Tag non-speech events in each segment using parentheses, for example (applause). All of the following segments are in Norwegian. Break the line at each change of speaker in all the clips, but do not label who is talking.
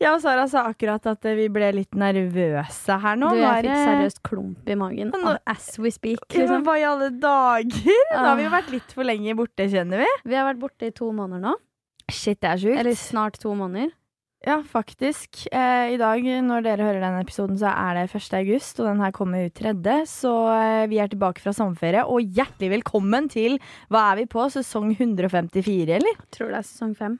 Jeg og Sara sa akkurat at eh, vi ble litt nervøse her nå.
Du,
nå
jeg
er
fikk
det-
seriøst klump i magen.
Nå-
As we speak.
Ja, men
Liksom. Ah,
hva i alle dager? Da har vi jo vært litt for lenge borte, kjenner vi.
Vi har vært borte i to måneder nå.
Shit, det er sjukt.
Eller snart to måneder.
ja, faktisk. Eh, I dag, når dere hører denne episoden, så er det 1. august, og den her kommer ut 3. Så eh, vi er tilbake fra sommerferie, og hjertelig velkommen til Hva er vi på? Sesong 154, eller?
Jeg tror det er sesong (laughs) fem.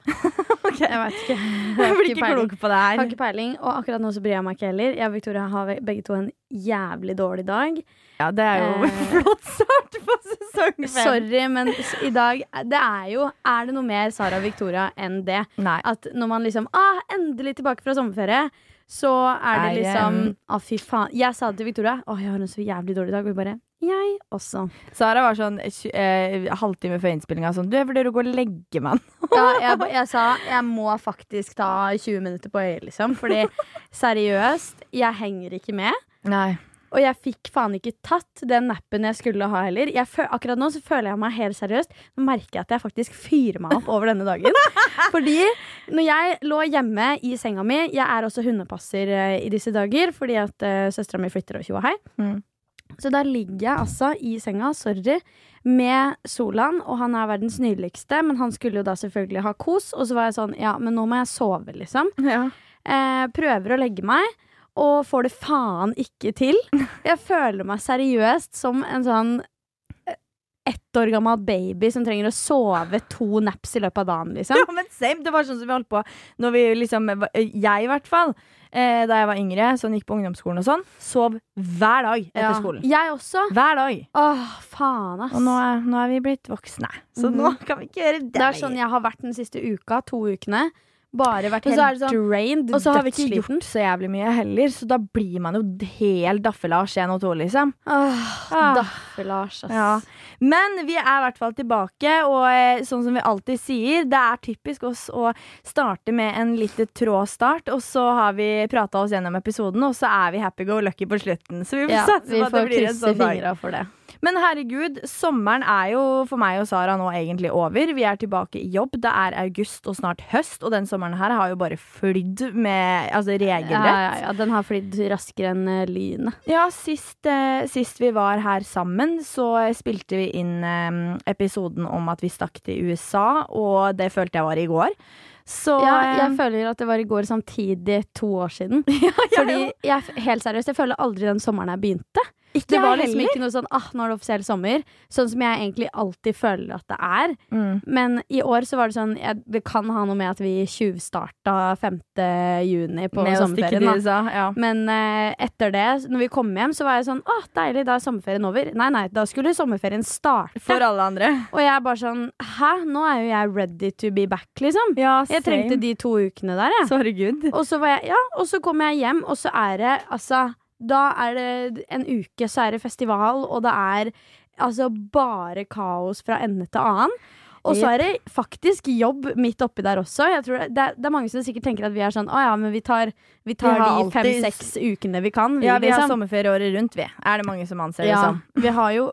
Ok.
Jeg vet
(laughs)
ikke. Jeg har
Jeg blir
ikke
ikke
peiling.
klok på det
Jeg har
her.
ikke peiling, og akkurat nå så bryr jeg meg ikke heller. Jeg og Victoria har ve- begge to en jævlig dårlig dag.
Ja, det er jo
Eh.
(laughs) flott start på sesong 5.
Sorry, men s- i dag Det er jo Er det noe mer Sara og Victoria enn det?
Nei.
At når man liksom ah, Endelig tilbake fra sommerferie. Så er
Er
det
det
liksom
en-
Å, fy faen. Jeg sa det til Victoria. Å, jeg har en så jævlig dårlig dag. Og hun bare Jeg også.
Sara var sånn tj- eh, halvtime før innspillinga sånn Du, jeg vurderer å gå og legge meg nå.
(laughs) Ja, jeg, ba- jeg sa jeg må faktisk ta 20 minutter på øyet, liksom. Fordi seriøst, jeg henger ikke med.
Nei.
Og jeg fikk faen ikke tatt den nappen jeg skulle ha heller. Jeg fø- akkurat nå så føler jeg meg helt seriøst. Nå merker jeg at jeg faktisk fyrer meg opp over denne dagen. Fordi når jeg lå hjemme i senga mi Jeg er også hundepasser eh, i disse dager, fordi at uh, søstera mi flytter og tjo og hei.
Mm.
Så da ligger jeg altså i senga, sorry, med Solan, og han er verdens nydeligste, men han skulle jo da selvfølgelig ha kos, og så var jeg sånn, ja, men nå må jeg sove, liksom
(laughs) Ja.
eh, prøver å legge meg, og får det faen ikke (laughs) til. Jeg føler meg seriøst som en sånn eh, ett år gammel baby som trenger å sove to naps i løpet av dagen, liksom.
Ja, men same. Det var sånn som vi holdt på når vi liksom Jeg, i hvert fall. Eh, da jeg var yngre, sånn gikk på ungdomsskolen og sånn. Sov hver dag etter
Ja.
skolen.
Jeg også.
Hver dag.
Åh, faen, ass.
Og nå er, nå er vi blitt voksne, så
Mhm.
nå kan vi ikke gjøre det.
det er sånn jeg har vært den siste uka, to ukene. Bare vært
Og så
helt
er det sånn-
drained,
og så har vi ikke
dødssliten.
gjort så jævlig mye heller, så da blir man jo helt daffela av skje nå to, liksom.
Åh,
Ah.
Daffe-Lars, ass.
Ja. Men vi er i hvert fall tilbake, og eh, sånn som vi alltid sier, det er typisk oss å starte med en lite trå start, og så har vi prata oss gjennom episoden, og så er vi happy go lucky på slutten. Så vi får
(laughs) Ja,
satse
vi
på at det
får
blir en
krysse
sånn dag.
fingra for det.
Men herregud, sommeren er jo for meg og Sara nå egentlig over. Vi er tilbake i jobb. Det er august og snart høst, og den sommeren her har jo bare flydd med altså
Ja,
regelrett.
ja, ja, den har flydd raskere enn eh, lynet.
Ja, sist, eh, sist vi var her sammen, så spilte vi inn eh, episoden om at vi stakk til USA, og det følte jeg var i går. Så
Ja, jeg
eh,
føler at det var i går samtidig to år
(laughs)
siden. Fordi jeg, helt seriøst, jeg føler aldri den sommeren her begynte. Det
jeg
var liksom
heller.
ikke noe sånn ah, nå er det offisiell sommer. Sånn som jeg egentlig alltid føler at det er.
Mm.
Men i år så var det sånn jeg, Det kan ha noe med at vi tjuvstarta 5. juni på
Med å stikke
sommerferien.
til
Da.
USA. Ja.
Men eh, etter det, når vi kom hjem, så var jeg sånn Å, deilig, da er sommerferien over. Nei, nei, da skulle sommerferien starte.
For alle andre. (laughs)
Og jeg er bare sånn Hæ, nå er jo jeg ready to be back, liksom.
Ja,
Jeg trengte de to ukene der, jeg.
Sorgud.
Og så, var jeg, ja, og så kom jeg hjem, og så er det altså Da er det en uke, så er det festival, og det er altså bare kaos fra ende til annen. Og så er det faktisk jobb midt oppi der også. Jeg tror det, det, er- det er mange som sikkert tenker at vi er sånn Å ja, men vi tar, vi tar
Vi har
de
alltid-
fem-seks ukene vi kan.
Ja, vi har liksom.
liksom.
sommerferie året rundt, vi. Er det mange som anser det
Ja,
som?
vi har jo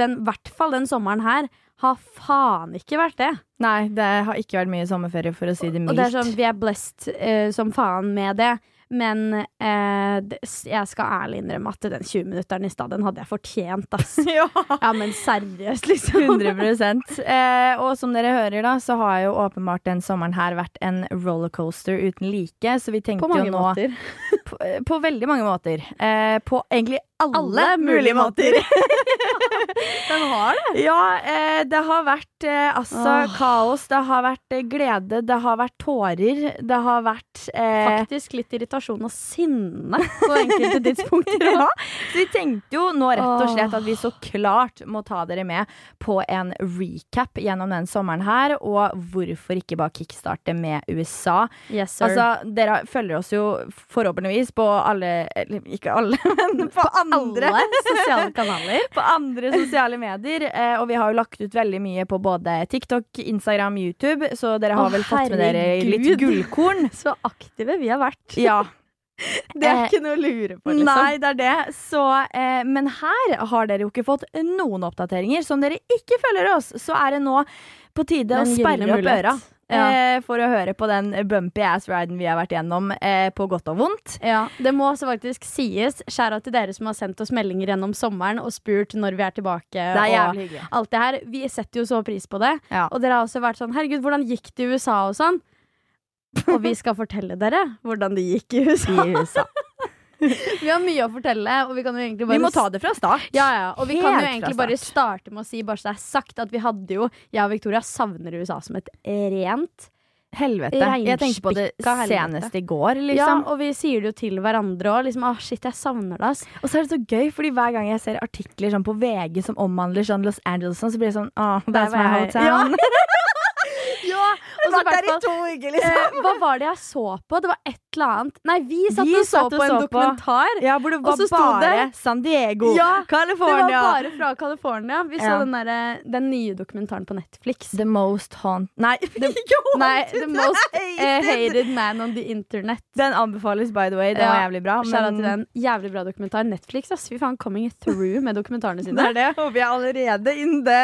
den, hvert fall den sommeren her har faen ikke vært det.
Nei, det har ikke vært mye sommerferie, for å si det mildt.
Og det er sånn,
(laughs)
vi er blessed eh, som faen med det. Men eh, det, s- jeg skal ærlig innrømme at den 20-minutteren i stad, den hadde jeg fortjent, (laughs) ass.
ja.
Ja, men seriøst, liksom.
100 eh, Og som dere hører, da, så har jo åpenbart den sommeren her vært en rollercoaster uten like. Så vi tenkte
På
jo
mange
nå
måter.
På, eh, på veldig mange måter. Eh, på egentlig alle,
Alle mulige
mulige
(laughs)
måter.
Den har det.
ja, eh, det har vært eh, altså
Åh.
kaos, det har vært eh, glede, det har vært tårer, det har vært (laughs) eh,
Faktisk litt irritasjon og sinne (laughs) på enkelte tidspunkter.
ja. Så vi tenkte jo nå rett og
Åh.
slett at vi så klart må ta dere med på en recap gjennom den sommeren her, og hvorfor ikke bare kickstarte med USA.
Yes, sir.
Altså, dere følger oss jo forhåpentligvis på alle Eller ikke alle, (laughs) men på, andre.
Alle sosiale kanaler.
På andre sosiale medier. Eh, og vi har jo lagt ut veldig mye på både TikTok, Instagram, YouTube, så dere har
Å,
vel fått med dere
herregud.
litt gullkorn.
(laughs) Så aktive vi har vært.
(laughs) Ja.
Det
Eh,
er ikke noe å lure på, liksom.
Nei, det er det. Så, eh, men her har dere jo ikke fått noen oppdateringer. Så om dere ikke følger oss, så er det nå på tide å
Den
sperre
gylne
opp
mulighet.
øra. eh, for å høre på den bumpy ass riden vi har vært gjennom, eh, på godt og vondt.
Ja, Det må også faktisk sies. Skjæra til dere som har sendt oss meldinger gjennom sommeren og spurt når vi er tilbake.
Det er
og
jævlig (laughs) hyggelig.
alt det her. Vi setter jo så pris på det.
Ja.
Og dere har også vært sånn Herregud, hvordan gikk det i USA og sånn? Og vi skal fortelle dere hvordan det gikk i USA.
(laughs) I USA.
Vi har mye å fortelle, og vi kan jo egentlig
Vi
bare
må ta det fra start.
ja, ja, og vi kan
Helt
jo
fra
egentlig bare
start.
starte med å si bare så det er sagt at vi hadde jo Jeg og Victoria savner USA som et rent
Helvete. Jeg tenkte på det
Reinspikka helvete.
senest i går,
Ja,
liksom.
og vi sier det jo til hverandre òg. Liksom, ah, shit, jeg savner det, ass.
Og så er det så gøy, fordi hver gang jeg ser artikler sånn på VG som omhandler sånn Los Angeles, sånn, så blir jeg sånn Åh,
Der
that's my
var jeg.
hometown. (laughs) Ja, (laughs)
Ja, og så i hvert fall
to uker, liksom.
eh, Hva var det jeg så på? Det var et eller annet Nei, vi satt
Vi
og så
satt og
på en
så på.
dokumentar.
Ja, hvor det
Og
var
så sto
bare
det-
San Diego,
Ja, Det var
California.
bare fra California. Vi så
Ja.
den, derre- den nye dokumentaren på Netflix.
The most haunt... Nei, (laughs) ikke haunted!
Nei, The Most eh,
hated.
Hated Man on the Internet.
Den anbefales, by the way. Den
Ja.
var jævlig bra.
Skjæra til den. Jævlig bra dokumentar. Netflix, ass. Fy faen, coming through med
(laughs)
dokumentarene
Det
sine.
er det. Og vi er allerede in the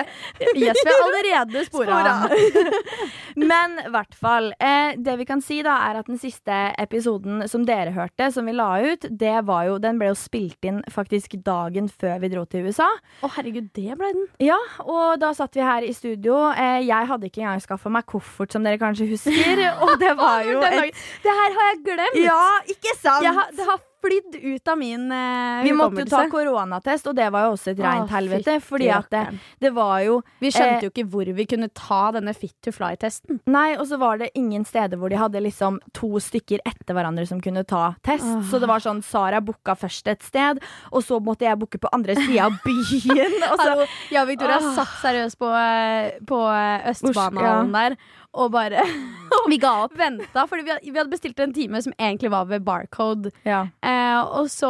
Yes, vi har allerede spora.
(laughs) Men i hvert fall. Eh, det vi kan si, da, er at den siste episoden som dere hørte, som vi la ut, det var jo Den ble jo spilt inn faktisk dagen før vi dro til USA.
Å, herregud, det ble den.
Ja, og da satt vi her i studio. Eh, jeg hadde ikke engang skaffa meg koffert, som dere kanskje husker.
(laughs)
Og det var jo
Den
et
dagen. Det her har jeg glemt. (laughs)
Ja, ikke sant?
Jeg har, det har flydd ut av min eh,
vi måtte jo ta
hukommelse.
koronatest, og det var jo også et
Å,
reint helvete. Fordi at det,
rakkeren.
det var jo
Vi
Eh,
skjønte jo ikke hvor vi kunne ta denne fit to fly-testen.
Nei, og så var det ingen steder hvor de hadde liksom to stykker etter hverandre som kunne ta test.
Åh.
Så det var sånn Sara booka først et sted, og så måtte jeg booke på andre sida av byen. (laughs) Og så,
Altså, jeg og Victoria
Åh.
satt seriøst på, eh, på eh, Østbanehallen der og bare
(laughs) vi ga
(laughs)
opp.
venta. Fordi vi hadde, vi hadde bestilt en time som egentlig var ved Barcode.
Ja.
Eh, og så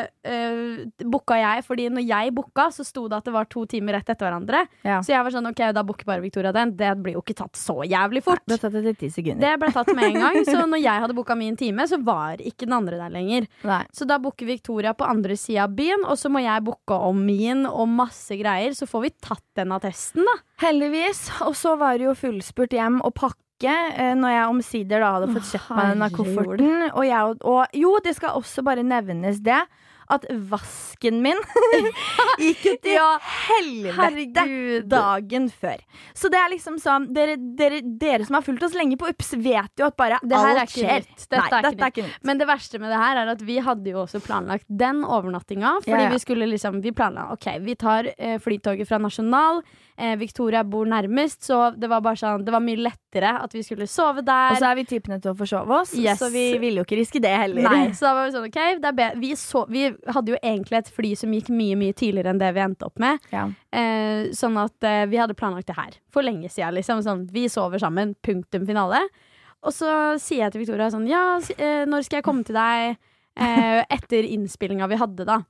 eh, booka jeg, fordi når jeg booka, så sto det at det var to timer rett etter hverandre.
Ja.
Så jeg var sånn, ok, da booker bare Victoria den. Det blir jo ikke tatt så jævlig fort.
Det tatt etter ti sekunder.
Det ble tatt med en gang, så når jeg hadde booka min time, så var ikke den andre der lenger.
Nei.
Så da booker Victoria på andre sida av byen, og så må jeg booke om min og masse greier. Så får vi tatt den attesten, da.
Heldigvis. Og så var det jo fullspurt hjem og pakke. eh, Når jeg omsider da hadde fått kjøpt meg denne
herregud.
kofferten. Og, jeg, og, og jo, det skal også bare nevnes det. At vasken (laughs) min gikk jo til
Ja,
helvete dagen før. Så det er liksom sånn Dere, dere, dere som har fulgt oss lenge på UPS, vet jo at bare
Det her er
alt
ikke
skjer.
nytt. Dette
Nei,
er ikke
dette er ikke nytt.
Men det verste med det her er at vi hadde jo også planlagt den overnattinga. Fordi
Ja, ja.
vi skulle liksom Vi planla ok, vi tar eh, flytoget fra Nasjonal. Eh, Victoria bor nærmest, så det var bare sånn Det var mye lettere at vi skulle sove
Og
der.
så er vi typene til å forsove oss,
Yes.
så vi ville jo ikke riske det heller.
Nei, så da var vi sånn, ok det er be- vi, så, vi hadde jo egentlig et fly som gikk mye mye tidligere enn det vi endte opp med.
(laughs) Ja.
Eh, sånn at eh, vi hadde planlagt det her for lenge siden. Liksom. Sånn, vi sover sammen, punktum finale. Og så sier jeg til Victoria sånn Ja, s- eh, når skal jeg komme til deg eh,
(laughs)
etter innspillinga vi hadde, da?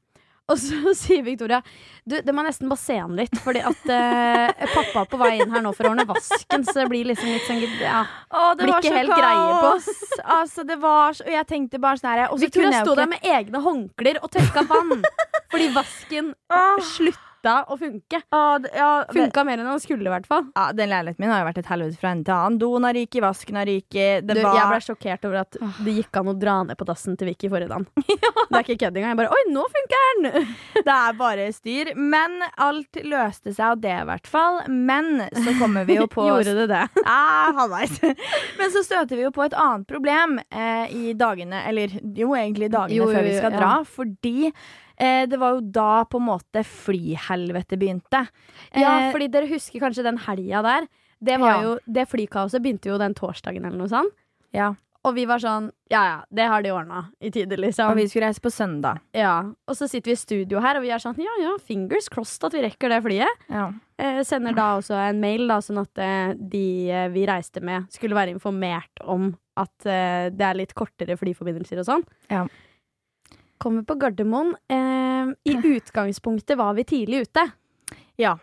Og så (laughs) sier Victoria Du, det må jeg nesten bare se han litt, fordi at eh, pappa er på vei inn her nå for å ordne vasken, så det blir liksom litt sånn ja.
Å, det
Blir
var
ikke
så
helt greie på.
kaos. (laughs) Altså, det var så Og jeg tenkte bare sånn her og så kunne
Victoria
jeg jo
sto
ikke-
der med egne håndklær og tørka vann, fordi
(laughs)
vasken
Åh,
slutta å funke.
åh, det- Ah. ja, det-
Funka mer enn han skulle, i hvert fall.
ja, den leiligheten min har jo vært et helvete fra ende til annen. Doen har ryket, vasken har ryket. Det
Du,
var
Jeg ble sjokkert over at det gikk an å dra ned på dassen til Vicky forrige (laughs) dagen. Det er ikke kødd engang. Jeg bare Oi, nå funker den!
(laughs) Det er bare styr. Men alt løste seg av det, i hvert fall. Men så kommer
(laughs)
vi jo på
Gjorde det det?
Ah, halvveis. (laughs) Men så støter vi jo på et annet problem eh, i dagene, eller jo egentlig dagene
Jo, jo,
før vi skal
jo, ja.
dra, fordi eh, det var jo da på en måte flyhelvete begynte.
Ja,
Eh,
fordi dere husker kanskje den helga der. Det, var
Ja.
jo, det flykaoset begynte jo den torsdagen eller noe sånt.
ja.
Og vi var sånn Ja ja, det har de ordna i tide,
Og
liksom.
vi skulle reise på søndag.
ja. og så sitter vi i studio her, og vi er sånn Ja ja, fingers crossed at vi rekker det flyet.
Ja.
Eh, sender da også en mail, da, sånn at eh, de eh, vi reiste med, skulle være informert om at eh, det er litt kortere flyforbindelser og sånn. Kommer på Gardermoen. Eh, I utgangspunktet var vi tidlig ute.
Ja.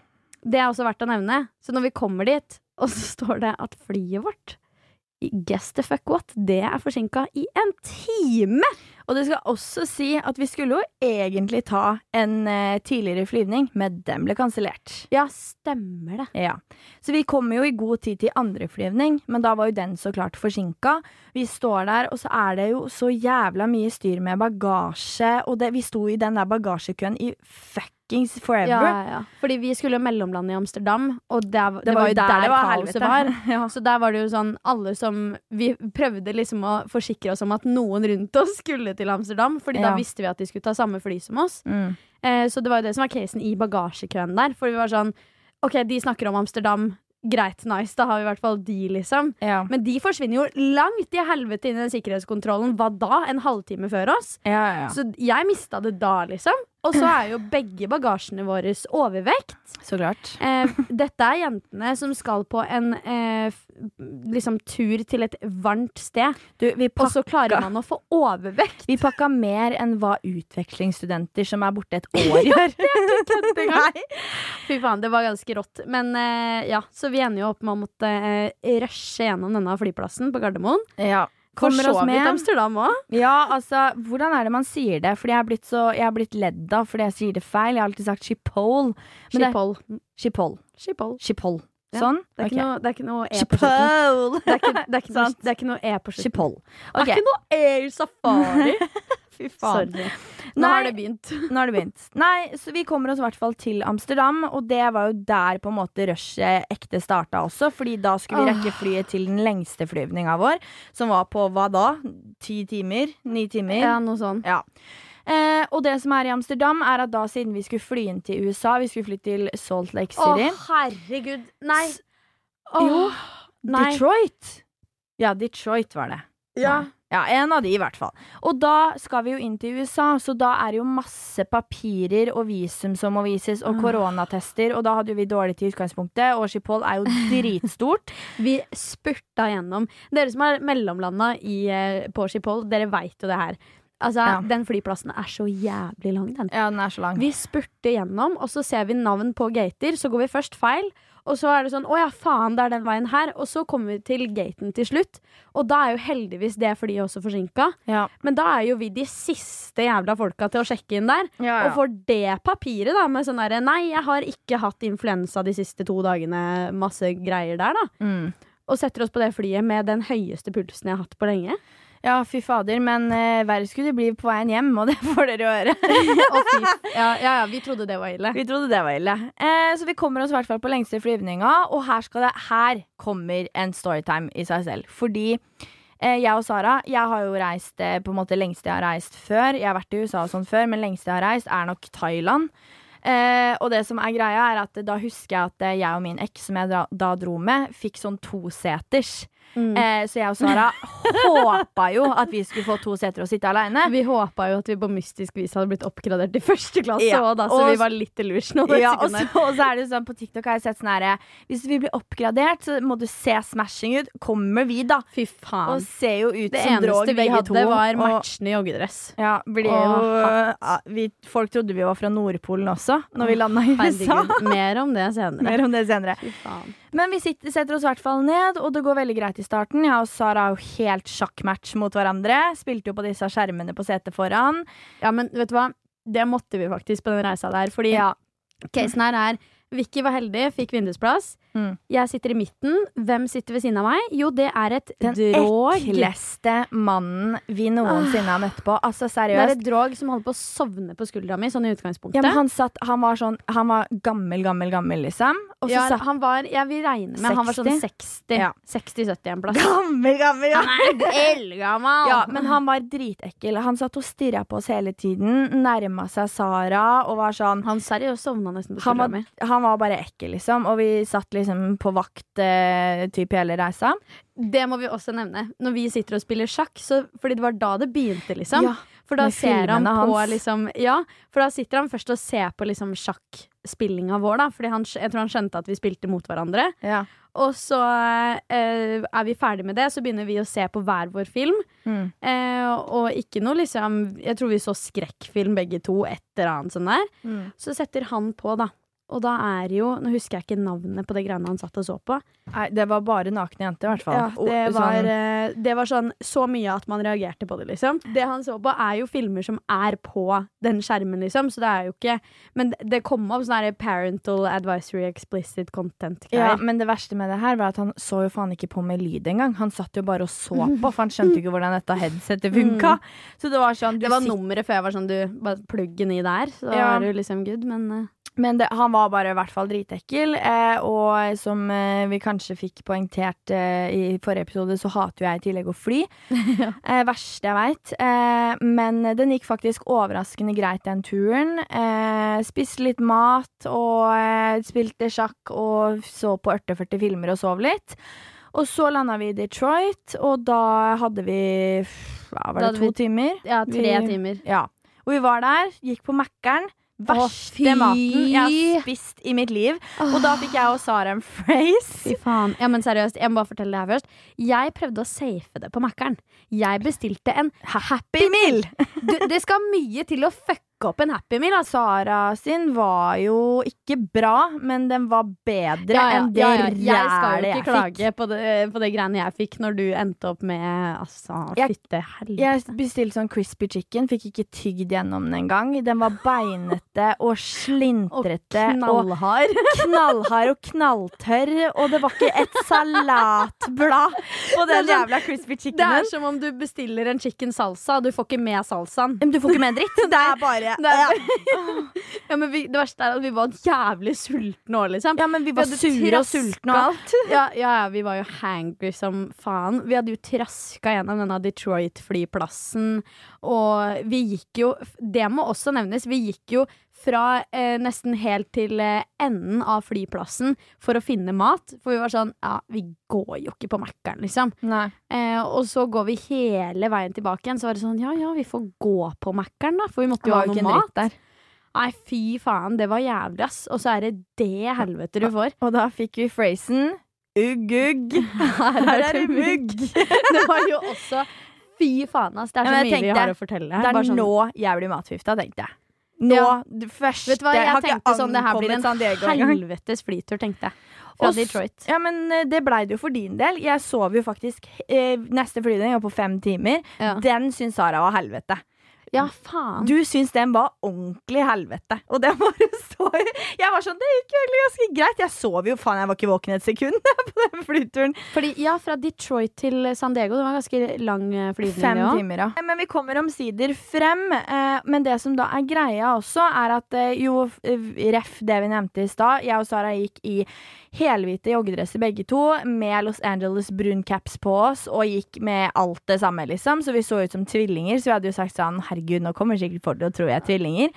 Det er også verdt å nevne. Så når vi kommer dit, og så står det at flyet vårt Guess the fuck what? Det er forsinka i en time!
Og det skal også si at vi skulle jo egentlig ta en eh, tidligere flyvning, men den ble kansellert.
Ja, stemmer det.
Ja. Så vi kommer jo i god tid til andre flyvning, men da var jo den så klart forsinka. Vi står der, og så er det jo så jævla mye styr med bagasje, og det, vi sto i den der bagasjekøen i fuckings
Ja,
forever.
ja, ja. Fordi vi skulle jo mellomlande i Amsterdam, og der, det,
Det var jo der, det var
kaoset
helvete.
var.
(laughs) Ja.
Så der var det jo sånn alle som Vi prøvde liksom å forsikre oss om at noen rundt oss skulle til Amsterdam, Fordi da
Ja.
visste vi at de skulle ta samme fly som oss.
Mm.
Eh, så det var jo det som var casen i bagasjekøen der. For vi var sånn OK, de snakker om Amsterdam. Greit, nice. Da har vi i hvert fall de, liksom.
Ja.
Men de forsvinner jo langt i helvete inn i den sikkerhetskontrollen. Hva da? En halvtime før oss?
ja, ja. Så,
Så jeg mista det da, liksom. Og så er jo begge bagasjene våre overvekt.
så klart.
Eh, dette er jentene som skal på en eh, f- liksom tur til et varmt sted.
Du, vi
Og så klarer
Pakka.
man å få overvekt.
Vi pakka mer enn hva utvekslingsstudenter som er borte et (laughs) år, gjør.
(laughs)
Nei.
Fy faen, det var ganske rått. Men eh, ja, så vi ender jo opp med å måtte eh, rushe gjennom denne flyplassen på Gardermoen.
Ja.
For
Kommer
så
oss
vidt
med.
Amsterdam òg.
Ja, altså, hvordan er det man sier det? Fordi jeg er blitt, så, jeg er blitt ledd av fordi jeg sier det feil. Jeg har alltid sagt Schiphol. Men det-
Schiphol.
Schiphol.
Schiphol.
Schiphol.
Ja,
Sånn?
Det er
Ok.
ikke noe- det er ikke noe E på slutten.
Schiphol.
Det er ikke- det er (laughs) ikke noe-
Sant.
det er ikke noe E på slutten.
Schiphol.
Det
Ok,
er ikke noe Air Safari. (laughs) Fy faen. Nå
Nei.
har det begynt.
nå har det begynt. Nei, så vi kommer oss i hvert fall til Amsterdam, og det var jo der på en måte rushet ekte starta også, fordi da skulle vi rekke flyet til den lengste flyvninga vår, som var på hva da? Ti timer? Ni timer?
Ja, noe sånn.
Ja. Eh, og det som er i Amsterdam, er at da siden vi skulle fly inn til USA, vi skulle fly til Salt Lake City
herregud. Nei.
S-
Åh,
Jo,
nei.
Detroit! Ja, Detroit var det.
Ja.
Sånn. Ja, En av de, i hvert fall. Og da skal vi jo inn til USA, så da er det jo masse papirer og visum som må vises, og koronatester, og da hadde jo vi dårlig tid i utgangspunktet, og Schiphol er jo dritstort.
Vi spurta gjennom. Dere som har mellomlanda i, eh, på Schiphol, dere veit jo det her. Altså,
Ja.
Den flyplassen er så jævlig lang, den.
(laughs) ja, den er så lang.
Vi spurter gjennom, og så ser vi navn på gater. Så går vi først feil, og så er det sånn Å ja, faen, det er den veien her. Og så kommer vi til gaten til slutt, og da er jo heldigvis det flyet også forsinka.
Ja.
Men da er jo vi de siste jævla folka til å sjekke inn der.
Ja, ja.
Og får det papiret da med sånn derre Nei, jeg har ikke hatt influensa de siste to dagene. Masse greier der, da.
Mm.
Og setter oss på det flyet med den høyeste pulsen jeg har hatt på
(laughs)
lenge.
ja, fy fader, men eh, verre skulle det bli på veien hjem, og det får dere høre.
Og fy, ja, ja, ja, vi trodde det var ille.
Vi trodde det var ille. Eh, så vi kommer oss i hvert fall på lengste flyvninga, og her, skal det, her kommer en storytime i seg selv. Fordi eh, jeg og Sara, jeg har jo reist eh, på en måte lengste jeg har reist før. Jeg har vært i USA og sånn før, men lengste jeg har reist, er nok Thailand. Eh, og det som er greia, er at eh, da husker jeg at eh, jeg og min eks, som jeg da, da dro med, fikk sånn toseters.
Mm.
Eh, så jeg og
(laughs)
Sara håpa jo at vi skulle få to seter og sitte aleine.
Vi håpa jo at vi på mystisk vis hadde blitt oppgradert i første klasse
Ja,
også, da, så
og-
vi var litt delusional.
Ja,
et
og
sekund
så,
der.
og så er det jo sånn på TikTok har jeg sett sånn herre Hvis vi blir oppgradert, så må du se smashing ut. Kommer vi, da?
Fy
Og
faen.
ser jo ut
Det
som drog,
eneste vi
begge
hadde,
to.
var
og-
matchende joggedress.
(laughs) Ja, blir
og
jo
hatt.
ja, vi, Folk trodde vi var fra Nordpolen også, når vi landa i USA.
Herregud. Mer om det senere.
(laughs) Mer om det senere.
Fy faen.
Men vi sitter, setter oss i hvert fall ned, og det går veldig greit i starten. Jeg og Sara er jo helt sjakkmatch mot hverandre. Spilte jo på disse skjermene på setet foran.
Ja, men vet du hva? Det måtte vi faktisk på den reisa der. Fordi
Ja.
casen her er Vicky var heldig, fikk vindusplass.
Mm.
Jeg sitter i midten. Hvem sitter ved siden av meg? Jo, det er et
Den
drog.
ekleste mannen vi noensinne har møtt på. Altså,
Det er
seriøst.
et drog som holder på å sovne på skuldra mi, sånn i utgangspunktet.
Ja, men han, satt, han var sånn Han var gammel, gammel, gammel, liksom. Og så
Ja,
satt
han var, jeg vil regne med han var sånn 60.
Ja.
60-70 en plass.
Gammel, gammel, (laughs) ja!
Han er eldgammel!
Ja, men han var dritekkel. Han satt og stirra på oss hele tiden. Nærma seg Sara og var sånn
han seriøst sovna nesten på
han
skuldra
var,
mi.
han var bare ekkel, liksom. Og vi satt liksom på vakt eh, typ hele reisa.
Det må vi også nevne. Når vi sitter og spiller sjakk, så, fordi det var da det begynte, liksom.
Ja,
for da
med
ser han
filmene
på
hans.
liksom Ja, for da sitter han først og ser på liksom sjakkspillinga vår, da. Fordi han, jeg tror han skjønte at vi spilte mot hverandre.
Ja.
Og så eh, er vi ferdig med det, så begynner vi å se på hver vår film.
Mm.
Eh, og ikke noe liksom Jeg tror vi så skrekkfilm begge to, et eller annet sånn der.
Mm.
Så setter han på, da. Og da er jo Nå husker jeg ikke navnet på det greiene han satt og så på.
Nei, det var bare nakne jenter, i hvert fall.
Ja, det,
Og
var,
sånn,
eh, det var sånn så mye at man reagerte på det, liksom. Det han så på, er jo filmer som er på den skjermen, liksom, så det er jo ikke Men det- det kom opp sånn her parental advisory explicit
ja,
content-greier.
men det verste med det her var at han så jo faen ikke på med lyd engang. Han satt jo bare og så på, for han
(laughs)
skjønte ikke hvordan dette headsetet funka. Så det var sånn du
Mm. Det var
sit-
nummeret før jeg var sånn du bare pluggen i der, så
Ja.
er du liksom good, men eh,
Men det, han var bare i hvert fall dritekkel, eh, og som eh, vi kanskje fikk poengtert eh, i forrige episode, så hater jo jeg i tillegg å
(laughs)
fly. eh, verste jeg veit. Eh, men den gikk faktisk overraskende greit, den turen. Eh, spiste litt mat og eh, spilte sjakk og så på 48 filmer og sov litt. Og så landa vi i Detroit, og da hadde vi hva var
Da
det,
hadde
to
vi-
timer.
Ja, tre
Vi-
timer.
Ja. Og vi var der, gikk på Mækkern. Verste
fy.
maten jeg har spist i mitt liv. Og da fikk jeg og Sara en phrase.
Fy faen. Ja, men seriøst, jeg må bare fortelle det her først. Jeg prøvde å safe det på Mækkern. Jeg bestilte en Happy
Meal.
Du, det skal mye til å fucke opp en Happy Meal, altså.
Sara sin var jo ikke bra, men den var bedre enn det rælet
Jeg skal jo
jeg
ikke
fikk.
klage på det, på det greiene jeg fikk når du endte opp med altså,
Jeg-
fytte helvete.
Jeg bestilte sånn crispy chicken, fikk ikke tygd gjennom den engang. Den var beinete og slintrete og
knallhard.
knallhard og knalltørr, og det var ikke et salatblad på
Det er
den
sånn-
jævla crispy
Det er
chickenen.
som om du bestiller en chicken salsa, og du får ikke med salsaen.
Men Du får
(laughs)
ikke med en dritt. Det er bare
Det, (laughs) er, ja, men vi, det verste er at vi var jævlig sultne òg, liksom.
Ja, men vi var
hadde
sure og
traska.
sultne og alt.
Ja, ja, ja, vi var jo hangry som faen. Vi hadde jo traska gjennom denne Detroit-flyplassen. Og vi gikk jo Det må også nevnes. Vi gikk jo fra eh, nesten helt til eh, enden av flyplassen for å finne mat. For vi var sånn Ja, vi går jo ikke på Mækkern, liksom. Eh, og så går vi hele veien tilbake igjen. Så var det sånn Ja ja, vi får gå på Mækkern, da. For vi måtte
Det
jo ha
var jo ikke
noe
en dritt
mat.
der.
Nei, fy faen. Det var jævlig, ass. Og så er det det
Ah,
helvete du får.
Og da fikk vi phrasen ugg, ugg.
(laughs) Her
(laughs) Her er det mugg.
(laughs) Det var jo også Fy faen, ass. Det er
Ja, men
så
jeg
mye vi
tenkte,
har å fortelle.
Det er
Bare sånn-
nå jeg blir matforgifta, tenkte jeg. Nå,
Ja.
det første
Vet du hva, jeg,
har ikke
tenkte sånn Det her blir
ankommet
en
San Diego engang.
helvetes flytur, tenkte jeg. Fra
Og s-
Detroit.
Ja, men eh, det blei det jo for din del. Jeg sov jo faktisk eh, Neste flyvning var på fem timer.
Ja.
Den syns Sara var helvete.
ja, faen.
Du syns den var ordentlig helvete. Og det bare så Jeg var sånn Det gikk jo egentlig ganske greit. Jeg sov jo faen, jeg var ikke våken et sekund (laughs) på den flyturen.
Fordi, ja, fra Detroit til San Diego. Det var ganske lang eh, flyvning,
Fem
det òg.
timer, ja. Eh, Men vi kommer omsider frem. Eh, men det som da er greia også, er at eh, jo, f- ref det vi nevnte i stad, jeg og Sara gikk i helhvite joggedresser begge to, med Los Angeles brun caps på oss, og gikk med alt det samme, liksom. Så vi så ut som tvillinger, så vi hadde jo sagt sånn herregud, nå kommer sikkert folk til å tro vi er tvillinger.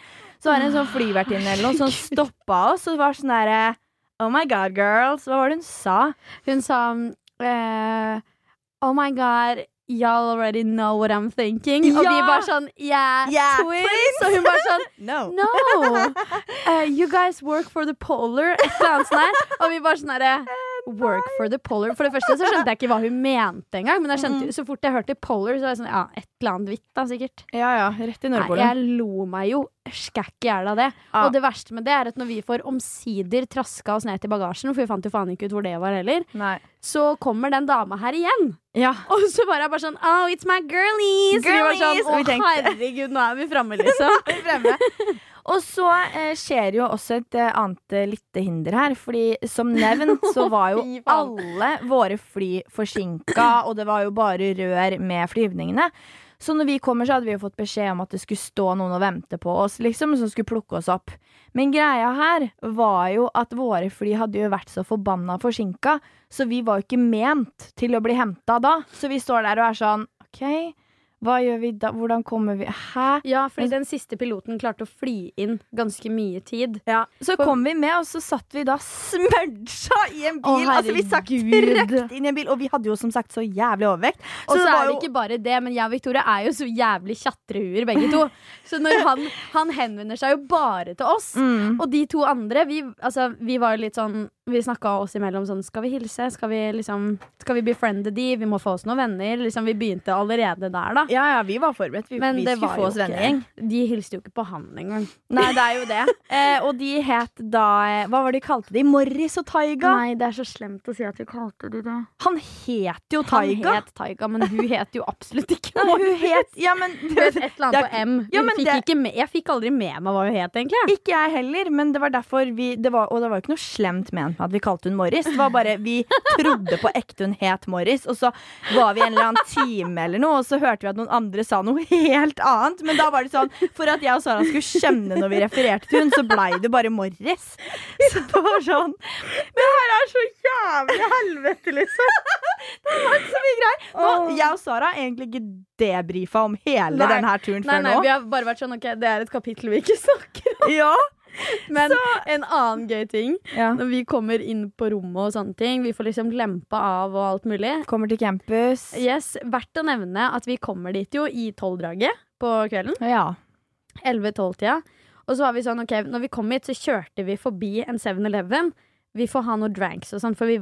Så var det en sånn flyvertinne eller noe som stoppa oss, og det var sånn derre Oh my god, girls. Hva var det hun sa?
Hun sa eh, Oh my god, y'all already know what I'm thinking. Og vi
Ja.
bare sånn Yeah,
Yeah,
twins. Og hun bare sånn
No.
No! Eh, you guys work for the polar. Et eller annet sånt der. Og vi bare sånn
(laughs)
herre
Eh,
Work for the polar. For det første så skjønte jeg ikke hva hun mente engang. Men
Mm.
jeg skjønte, så fort jeg hørte polar, så var jeg sånn Ja, et eller annet hvitt, da, sikkert.
Ja ja, rett i
Nei,
Nordpolen. Ah,
jeg lo meg jo skækk i hjel av det.
Ja.
Og det verste med det er at når vi får omsider traska oss ned til bagasjen, for vi fant jo faen ikke ut hvor det var heller,
Nei.
så kommer den dama her igjen.
Ja.
Og så var jeg bare sånn Oh, it's my girlies! Og vi
Girlies,
var sånn
og vi
Å,
tenkte-
herregud, nå er vi framme, liksom.
Og så eh, skjer jo også et eh, annet eh, lite hinder her. Fordi som nevnt så var jo
(laughs) Fy faen.
alle våre fly forsinka, og det var jo bare rør med flyvningene. Så når vi kommer, så hadde vi jo fått beskjed om at det skulle stå noen og vente på oss, liksom, som skulle plukke oss opp. Men greia her var jo at våre fly hadde jo vært så forbanna forsinka, så vi var jo ikke ment til å bli henta da. Så vi står der og er sånn OK, hva gjør vi da? Hvordan kommer vi Hæ?
Ja, fordi den siste piloten klarte å fly inn ganske mye tid.
Ja, Så
For-
kom vi med, og så satt vi da smudja i en
Å,
bil. altså Vi satt
herregud.
trøkt inn i en bil, og vi hadde jo som sagt så jævlig overvekt.
Og så
det var
er det
jo-
ikke bare det, men jeg og Victoria er jo så jævlig tjatrehuer
(laughs)
begge to. Så når han, han henvender seg jo bare til oss.
Mm.
Og de to andre, vi, altså, vi var jo litt sånn vi snakka oss imellom sånn Skal vi hilse? Skal vi liksom Skal vi befriende de? Vi må få oss noen venner. Liksom, vi begynte allerede der, da.
Ja, ja, vi var forberedt. Vi,
Men
vi
det
skulle
var
få
jo
oss vennegjeng.
ikke De hilste jo ikke på han engang.
Nei, det er jo det. Eh, og de het da eh, Hva var det de kalte de? Morris og Taiga?
Nei, det er så slemt å si at vi kalte de det.
Han het jo
Han
Taiga.
het Taiga, men hun het jo absolutt ikke
Nei,
Morris.
hun het Ja, men
Hun het Et
(laughs)
eller
Det
annet
er-
på M.
Ja,
Hun
men
fikk
det-
ikke med, jeg fikk aldri med meg hva hun het, egentlig.
Ikke jeg heller, men det var derfor vi det var, Og det var jo ikke noe slemt ment med at vi kalte hun Morris. Det var bare Vi trodde på ekte hun het Morris, og så var vi en eller annen time eller noe, og så hørte vi at noen andre sa noe helt annet. Men da var det sånn For at jeg og Sara skulle skjønne når vi refererte til hun, så blei det bare Morris. Så det var sånn Det her er så jævlig helvete, liksom. (laughs) Det har vært så mye greier. Nå,
Åh.
jeg og Sara har egentlig ikke debrifa om hele
Nei.
denne her turen
Nei,
før
nei, vi
nå.
har bare vært sånn OK, det er et kapittel vi ikke snakker om.
Ja.
Men en annen gøy ting
ja.
Når vi kommer inn på rommet og sånne ting, vi får liksom lempa av og alt mulig.
Kommer til campus.
Yes, Verdt å nevne at vi kommer dit jo i tolvdraget på kvelden.
Ja.
sånn, sånn,
Ja,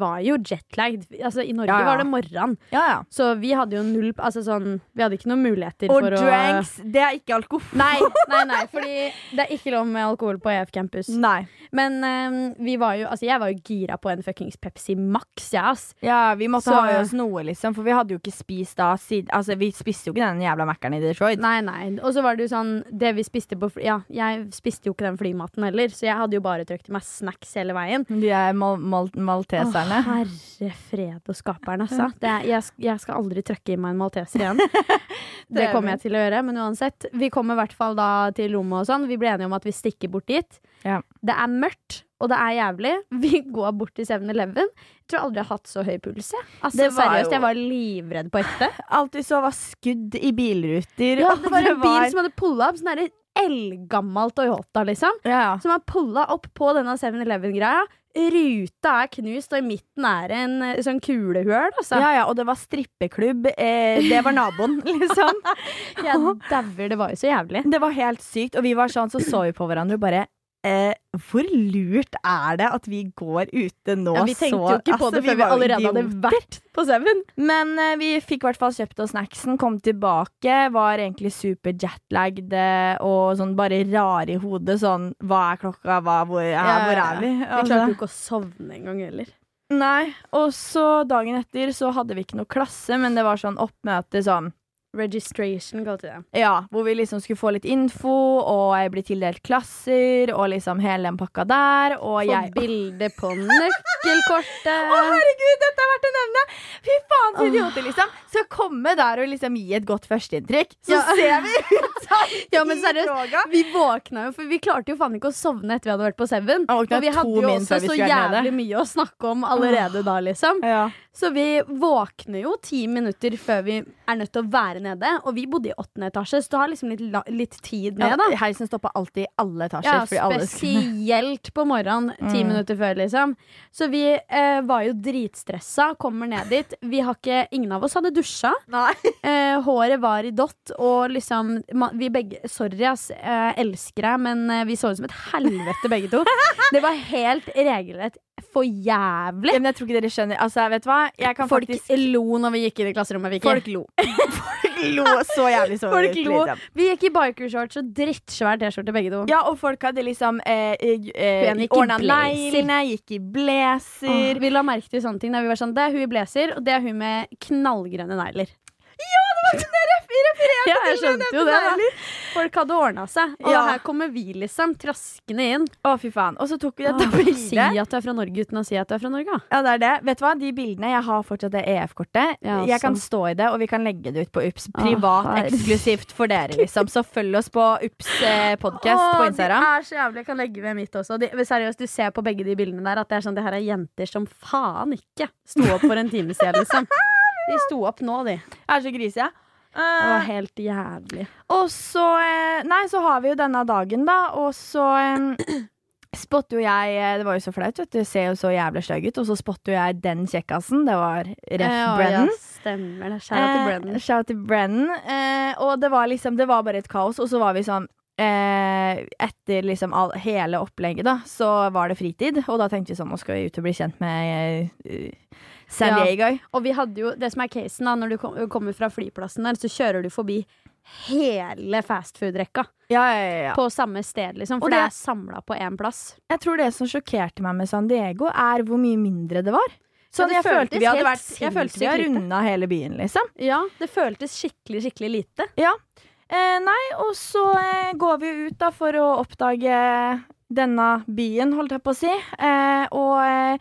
ja.
Altså, var det morgen,
Ja, ja.
så vi hadde jo null Altså sånn, vi hadde ikke noen muligheter
Og
for
dranks, det er ikke alkohol.
å (laughs) Nei, nei, nei, fordi det er ikke lov med alkohol på EF Campus.
Nei.
Men eh, vi var jo, altså, jeg var jo gira på en fuckings Pepsi Max, jeg, ass.
Ja, vi måtte
Så-
ha i oss noe, liksom, for vi hadde jo ikke spist da siden Altså, vi spiste jo ikke den jævla Mækkern i Detroit.
Nei, nei. Og så var det jo sånn Det vi spiste på fly... Ja, jeg spiste jo ikke den flymaten heller, så jeg hadde jo bare trøkt i meg snacks hele veien.
De er mal mal
Å,
malteserne. (laughs)
herre fred og skaperen, altså. Det, er- jeg, sk- jeg skal aldri trøkke i meg en malteser igjen. Det
er
kommer jeg til å gjøre, men uansett. Vi kommer i hvert fall da til rommet og sånn. Vi ble enige om at vi stikker bort dit.
Ja.
Det er mørkt, og det er jævlig. (laughs) Vi går bort til 7-Eleven. Jeg tror aldri jeg har hatt så høy puls, jeg. Altså,
Det var
seriøst,
jo-
jeg var livredd på ekte.
Alt vi så, var skudd i bilruter.
Ja,
og
det var en bil som hadde pulla opp sånn derre eldgammel Toyota, liksom.
ja, ja.
Som har pulla opp på denne 7-Eleven-greia. Ruta er knust, og i midten er en eh, sånn kulehull, altså.
ja, ja, og det var strippeklubb. Eh, det var
(laughs)
naboen, liksom.
Jeg dauer, det var jo så jævlig.
Det var helt sykt. Og vi var sånn, så så vi på hverandre og bare eh, Hvor lurt er det at vi går ute nå
Ja, vi
så
tenkte jo ikke på
Altså,
det før vi
var jo
allerede hadde
idioter.
vært på 7.
Men eh, vi fikk i hvert fall kjøpt oss snacksen, kom tilbake, var egentlig super jetlagd eh, og sånn bare rar i hodet. Sånn hva er klokka, hva, hvor, ja,
ja,
hvor
ja.
er vi?
Vi
Altså.
klarte jo ikke å sovne engang heller.
Nei. Og så dagen etter så hadde vi ikke noe klasse, men det var sånn oppmøte sånn
Registration kalte de det.
ja, hvor vi liksom skulle få litt info, og jeg blir tildelt klasser, og liksom hele den pakka der, og
Få
jeg
bilde
(laughs)
på
Å,
nøkkelkortet.
herregud, dette er verdt å nevne! Fy faen, så
Åh.
idioter, liksom. Skal komme der og liksom gi et godt førsteinntrykk. Så
Ja.
ser
(laughs)
vi ut som
Ja, men
i
seriøst,
droga.
Vi våkna jo, for vi klarte jo faen ikke å sovne etter vi hadde vært på Seven.
Jeg våkna
Og vi
to
hadde jo
min
også
før vi
så
skulle være nede.
jævlig mye å snakke om allerede da, liksom.
Ja.
Så vi våkner jo ti minutter før vi er nødt til å være nede. Og vi bodde i åttende etasje, så du har liksom litt, la- litt tid
Ja,
ned, da.
Heisen stoppa alltid i alle etasjer.
Ja,
fordi alle skulle-
spesielt på morgenen, ti
Mm.
minutter før, liksom. Så vi eh, var jo dritstressa, kommer ned dit. Vi har ikke, ingen av oss hadde dusja. Eh, håret var i dott, og liksom ma, Vi begge Sorry, ass. Eh, elsker deg, men eh, vi så ut som et helvete, begge
(laughs)
to. Det var helt regelrett for jævlig.
(laughs) Ja, men jeg tror ikke dere skjønner. Altså, vet du hva? Jeg kan
Folk
faktisk
lo når vi gikk inn i klasserommet. Vicky.
Folk lo. (laughs) Folk lo så
(laughs)
jævlig så
Folk
ut,
lo.
liksom.
Vi gikk i bikershorts og drittsvær T-skorte, begge to.
Ja, og folk hadde liksom eh, eh,
Hun gikk i
ordna
blazer.
neglene, gikk i
Åh,
blazer.
Vi la merke til sånne ting. Da vi var sånn, Det er hun i blazer, og det er hun med knallgrønne negler. Ja, jeg skjønte jo det. Da. Folk hadde ordna seg. Og
Ja.
her kommer vi, liksom, traskende inn.
Å, fy faen. Og så tok vi dette
Åh, Si
bildet.
at du er fra Norge uten å si at du er fra Norge. da.
Ja, det er det. Vet du hva? De bildene Jeg har fortsatt det EF-kortet.
Ja,
jeg kan
sant.
stå i det, og vi kan legge det ut på UPS.
Å,
Privat,
herregud.
eksklusivt for dere, liksom. Så følg oss på UPS eh, podcast
Åh,
på Instagram.
Det er så jævlig. Jeg kan legge ved mitt også. De, seriøst, du ser på begge de bildene der at det er sånn, det her er jenter som faen ikke sto opp for en time siden, (laughs) liksom. De sto opp nå, de. Det
Jeg er så grise, jeg.
var
Eh,
helt jævlig.
og så eh, Nei, så har vi jo denne dagen, da, og så eh, spotter jo jeg eh, Det var jo så flaut, vet du. Ser jo så jævlig stygg ut. Og så spotter jo jeg den kjekkasen. Det var Ref
Ja,
Brennan.
Ja, stemmer det. Skjæra til Brennan.
Eh, shout out til Brennan. Eh, og det var liksom, det var bare et kaos. Og så var vi sånn eh, etter liksom all, hele opplegget, da, så var det fritid. Og da tenkte vi sånn, nå skal vi ut og bli kjent med eh, San
Ja.
Diego.
Eh, Og vi hadde jo, det som er casen da Når du kom, kommer fra flyplassen der Så kjører du forbi hele fastfood-rekka
Ja, ja, ja, ja.
På samme sted liksom
Og
For
det-
det er samlet på en plass
Jeg tror det som sjokkerte meg med San Diego, er hvor mye mindre det var.
Ja,
Sånn,
det
jeg, følte
føltes
vi hadde
helt
vært, jeg følte vi
sinnssykt
hadde
lite.
runda hele byen, liksom.
Ja, det føltes skikkelig, skikkelig lite
Eh, nei, og så eh, går vi jo ut da for å oppdage denne byen, holdt jeg på å si. Eh, og eh,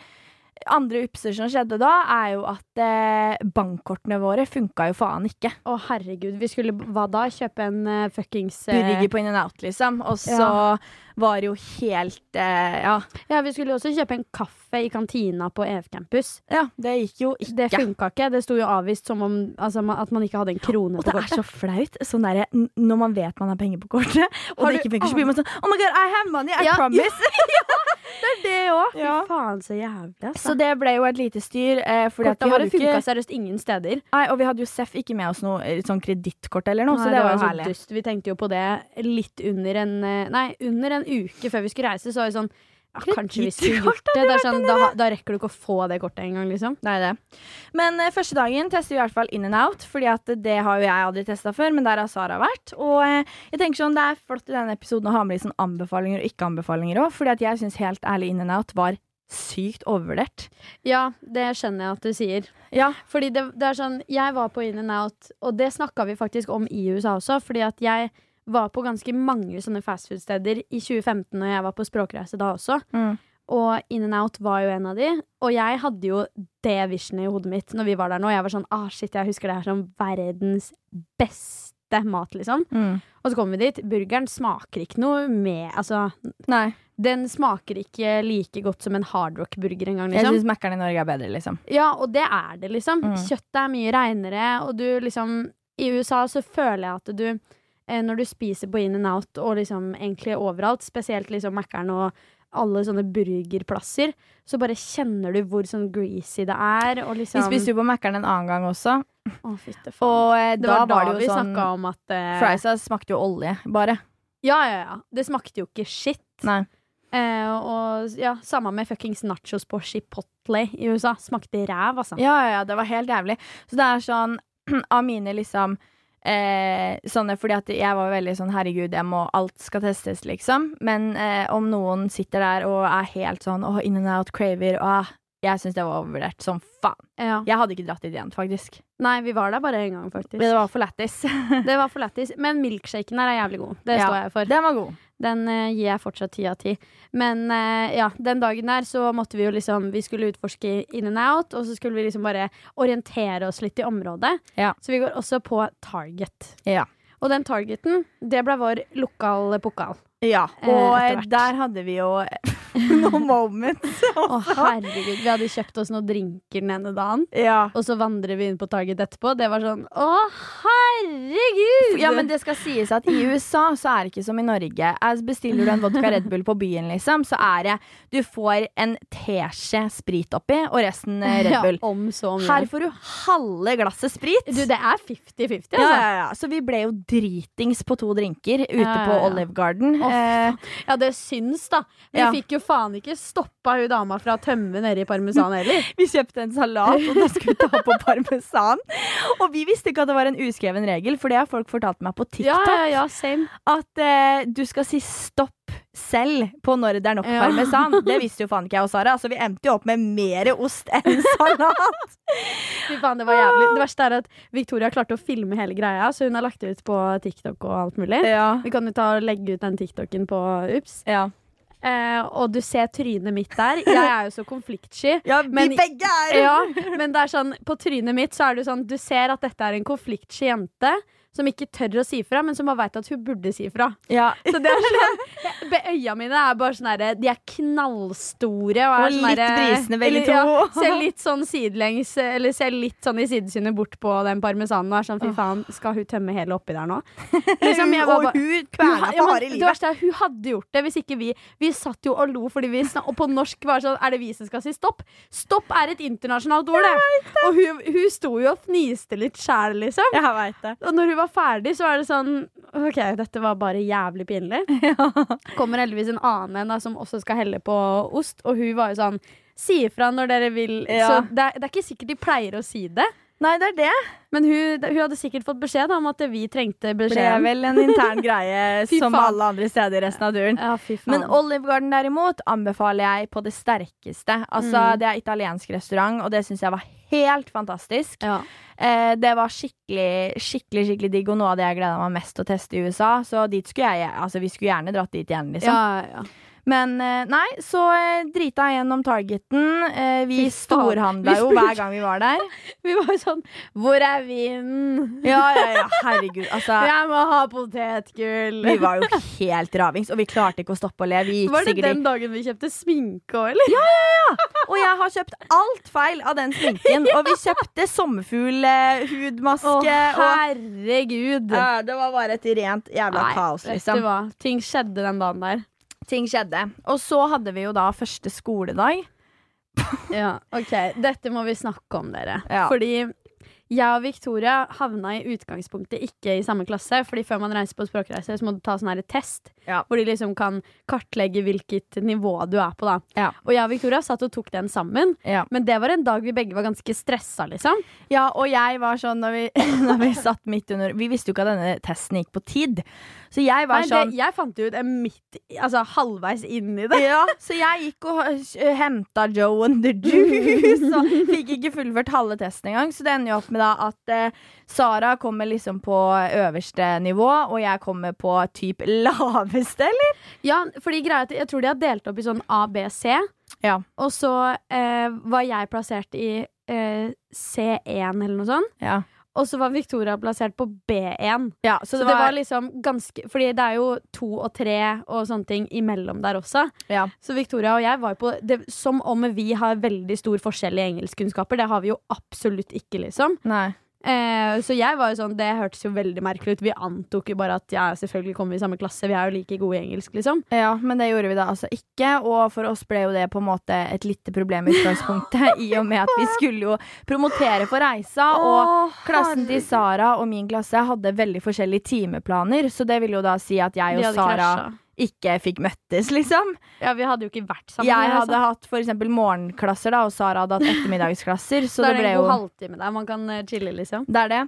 andre upser som skjedde da, er jo at eh, bankkortene våre funka jo faen ikke.
Å herregud, vi skulle, hva da? Kjøpe en eh, fuckings eh,
Burger på in and out, liksom. Og så
Ja.
var det jo helt eh, ja,
Ja, vi skulle jo også kjøpe en kaffe i kantina på EF Campus
ja, det gikk jo ikke.
Det funka ikke, det sto jo avvist som om altså, ma- at man ikke hadde en krone
Og
på
det er
kortet
så flaut sånn derre, n- når man vet man har penger på kortet, og
Har
det
du
ikke funker, så blir man sånn Oh my god, I have money, I
Ja,
(laughs) promise.
Det også,
Ja.
fy faen så jævlig
Så
altså.
det ble jo et lite styr. Eh, fordi at vi
Kortet
hadde
våre
jo ikke
funka seriøst ingen steder
Nei, og vi hadde jo Seff ikke med oss noe eh, sånn kredittkort eller noe,
Nei,
så det, var jo sånn
så
herlig.
sånn Dust. Vi tenkte jo på det litt under en eh, Nei, under en uke før vi skulle reise, så var vi sånn ja, Kanskje vi skulle gjort det? det er sånn, da, ha- da rekker du ikke å få det kortet engang, liksom.
Nei, det. Men eh, første dagen tester vi i hvert fall in and out, Fordi at det har jo jeg aldri testa før, men der har Sara vært. Og eh, jeg tenker sånn, det er flott i denne episoden å ha med litt sånn anbefalinger og ikke-anbefalinger òg, fordi at jeg syns helt ærlig in and out var sykt overvurdert.
Ja, det skjønner jeg at du sier.
Ja.
Fordi det, det er sånn, jeg var på In and Out, og det snakka vi faktisk om i USA også. Fordi at jeg var på ganske mange sånne fastfood-steder i 2015, og jeg var på språkreise da også.
Mm.
Og In and Out var jo en av de. Og jeg hadde jo det visionet i hodet mitt når vi var der nå. Jeg var sånn ah shit, jeg husker det her som verdens beste mat, liksom.
Mm.
Og så kom vi dit. Burgeren smaker ikke noe med Altså,
Nei.
den smaker ikke like godt som en hardrock-burger engang,
Jeg
liksom.
syns Mækkern i Norge er bedre, liksom.
Ja, og det er det, liksom.
Mm.
Kjøttet er mye reinere, og du liksom I USA så føler jeg at du eh, Når du spiser på in and out og liksom egentlig overalt, spesielt liksom Mækkern og alle sånne burgerplasser, så bare kjenner du hvor sånn greasy det er, og
Vi
liksom
spiste jo på Mækkern en annen gang også,
Å, fytte faen.
og eh,
Det
da
var da,
var det
vi
jo
snakka
sånn
om at eh,
Friesa smakte jo olje, bare.
Ja, ja, ja. Det smakte jo ikke shit.
Nei.
Eh, og ja, samme med fuckings nachos på Chipotle i USA. Smakte ræv, altså.
Ja, ja, ja, det var helt jævlig. Så det er sånn (clears throat) av mine liksom eh, sånne Fordi at jeg var veldig sånn herregud, jeg må, alt skal testes, liksom. Men eh, om noen sitter der og er helt sånn åh, in and out, craver åh, Jeg syns det var overvurdert som faen.
Ja.
Jeg hadde ikke dratt dit igjen, faktisk.
Nei, vi var der bare en gang, faktisk.
Men det var for lættis.
Det var for lættis. Men milkshaken her er jævlig god. Det
Ja.
står jeg for.
Den var god.
Den eh, gir jeg fortsatt ti av ti. Men eh, ja, den dagen der så måtte vi jo liksom Vi skulle utforske in and out, og så skulle vi liksom bare orientere oss litt i området.
Ja.
Så vi går også på Target.
Ja.
Og den Targeten, det ble vår lokal pokal.
Ja,
Eh,
og
etter
eh,
hvert.
der hadde vi jo noen moments.
Å herregud, vi hadde kjøpt oss noen drinker den ene dagen.
ja.
Og så vandrer vi inn på Target etterpå. Det var sånn Å, herregud!
Ja, men det skal sies at i USA så er det ikke som i Norge. Altså, Bestiller du en vodka Red Bull på byen, liksom, så er det Du får en teskje sprit oppi, og resten eh, Red Bull.
Ja, om så mye.
Her får du halve glasset sprit.
Du, det er 50-50, altså.
ja, ja, ja. Så vi ble jo dritings på to drinker ute
Ja, ja,
på
ja.
Olive Garden.
Å,
Eh,
Ja, det syns, da. Vi
Ja.
fikk jo faen ikke stoppa hun dama fra å tømme nedi parmesan heller.
Eh, vi kjøpte en salat, og da skulle vi ta på (laughs) parmesan. Og vi visste ikke at det var en uskreven regel, for det har folk fortalt meg på TikTok.
Ja, ja, ja, same.
at eh, du skal si stopp selv på når det er nok
Ja.
parmesan. Det visste jo faen ikke jeg og Sara. Altså, vi endte jo opp med mer ost enn salat.
Fy faen, det var jævlig. Det verste er at Victoria klarte å filme hele greia, så hun har lagt det ut på TikTok og alt mulig.
(laughs) ja.
Vi kan jo ta og legge ut den TikToken på Ups.
Ja.
Eh, og du ser trynet mitt der. Jeg er jo så (laughs) konfliktsky. Men-
vi begge er
Ja, men det er sånn, på trynet mitt så er det jo sånn Du ser at dette er en konfliktsky jente som ikke tør å si fra, men som bare veit at hun burde si fra.
Ja.
Så
(laughs)
det er sånn be- Øya mine er bare sånn herre De er knallstore. Og, er
Og
sånn
litt
herre-
brisende, begge
eller, ja,
to.
ser litt sånn sidelengs Eller ser litt sånn i sidesynet bort på den parmesanen og er sånn fy faen, skal hun tømme hele oppi
(laughs)
der nå? Liksom, jeg var
og
bare-
hun
Hun ha-
kverna
ja,
på
men
harde
Det
livet.
verste er, hun hadde gjort det hvis ikke vi Vi satt jo og lo fordi vi snak, Og på norsk var det sånn Er det vi som skal si stopp? Stopp er et internasjonalt ord, det. Og hun, hun sto jo og fniste litt sjæl, liksom.
Jeg veit det.
Og når hun var ferdig, så var det sånn OK, dette var bare jævlig
(laughs)
pinlig. Kommer heldigvis en annen en da, som også skal helle på ost, og hun var jo sånn Si ifra når dere vil. Så
Ja.
det er, det er ikke sikkert de pleier å si det.
Nei, det er det.
Men hun, hun hadde sikkert fått beskjed da, om at vi trengte
Ble
beskjeden.
vel en intern (laughs) greie
Fy
som
faen.
alle andre steder i resten av turen.
Ja, fy faen.
Men Olive Garden derimot anbefaler jeg på det sterkeste. Altså, Det er italiensk restaurant, og det syns jeg var helt fantastisk.
ja.
Eh, det var skikkelig skikkelig, skikkelig digg, og noe av det jeg gleda meg mest til å teste i USA. Så dit skulle jeg, altså, vi skulle gjerne dratt dit igjen, liksom.
ja, ja.
Men eh, nei, så eh, drita jeg gjennom Targeten. Eh, vi
Fy faen.
storhandla
Vi
jo
spurte-
hver gang vi var der.
(laughs) Vi var jo sånn Hvor er
(laughs)
vinen?
Ja, ja, ja, herregud. Altså,
Jeg må ha potetgull.
vi var jo helt ravings, og vi klarte ikke å stoppe å le. Vi gikk
Var det
sikkert i
den dagen vi kjøpte sminke òg, eller?
Og jeg har kjøpt alt feil av den sminken. (laughs) Og vi kjøpte sommerfuglhudmaske.
Å,
og
herregud.
Ja, det var bare et rent jævla
Nei,
kaos,
vet du
liksom.
hva? Ting skjedde den dagen der.
Ting skjedde. Og så hadde vi jo da første skoledag.
Ja, ok. Dette må vi snakke om, dere.
Ja.
Fordi jeg og Victoria havna i utgangspunktet ikke i samme klasse. Fordi før man reiser på språkreise, så må du ta sånn her test.
Ja.
Hvor de liksom kan kartlegge hvilket nivå du er på, da.
Ja.
Og jeg og Victoria satt og tok den sammen.
Ja.
Men det var en dag vi begge var ganske stressa, liksom.
og jeg var sånn når vi, (laughs) når vi satt midt under Vi visste jo ikke at denne testen gikk på tid. Så jeg var
Nei, det,
sånn
jeg fant det ut eh, midt, i- altså halvveis inn i det.
ja, så jeg gikk og eh, henta Joe and the Juice og fikk ikke fullført halve testen engang. Så det ender jo opp med da at eh, Sara kommer liksom på øverste nivå, og jeg kommer på typ laveste, eller?
Ja, fordi greia er at Jeg tror de har delt opp i sånn A, B, C.
Ja.
Og så eh, var jeg plassert i eh, C1 eller noe sånt.
Ja,
Og så var Victoria plassert på B1.
så, det, var,
liksom ganske Fordi det er jo to og tre og sånne ting imellom der også.
ja.
Så Victoria og jeg var jo på det, Som om vi har veldig stor forskjell i engelskkunnskaper. Det har vi jo absolutt ikke, liksom.
Nei.
Eh, så jeg var jo sånn, det hørtes jo veldig merkelig ut. Vi antok jo bare at ja, selvfølgelig kommer vi i samme klasse, vi er jo like gode i engelsk, liksom.
Ja, men det gjorde vi da altså ikke, og for oss ble jo det på en måte et lite problem i
(laughs)
utgangspunktet, i og med at vi skulle jo promotere for reisa, og klassen til Sara og min klasse hadde veldig forskjellige timeplaner, så det vil jo da si at jeg
De
og
hadde
Sara
krasja.
ikke fikk møttes, liksom.
Ja, vi hadde jo ikke vært sammen.
Jeg hadde hatt for eksempel morgenklasser, da, og Sara hadde hatt ettermiddagsklasser, så
det
det
er
ble
en god
jo
halvtime der man kan eh, chille, liksom.
Det er det.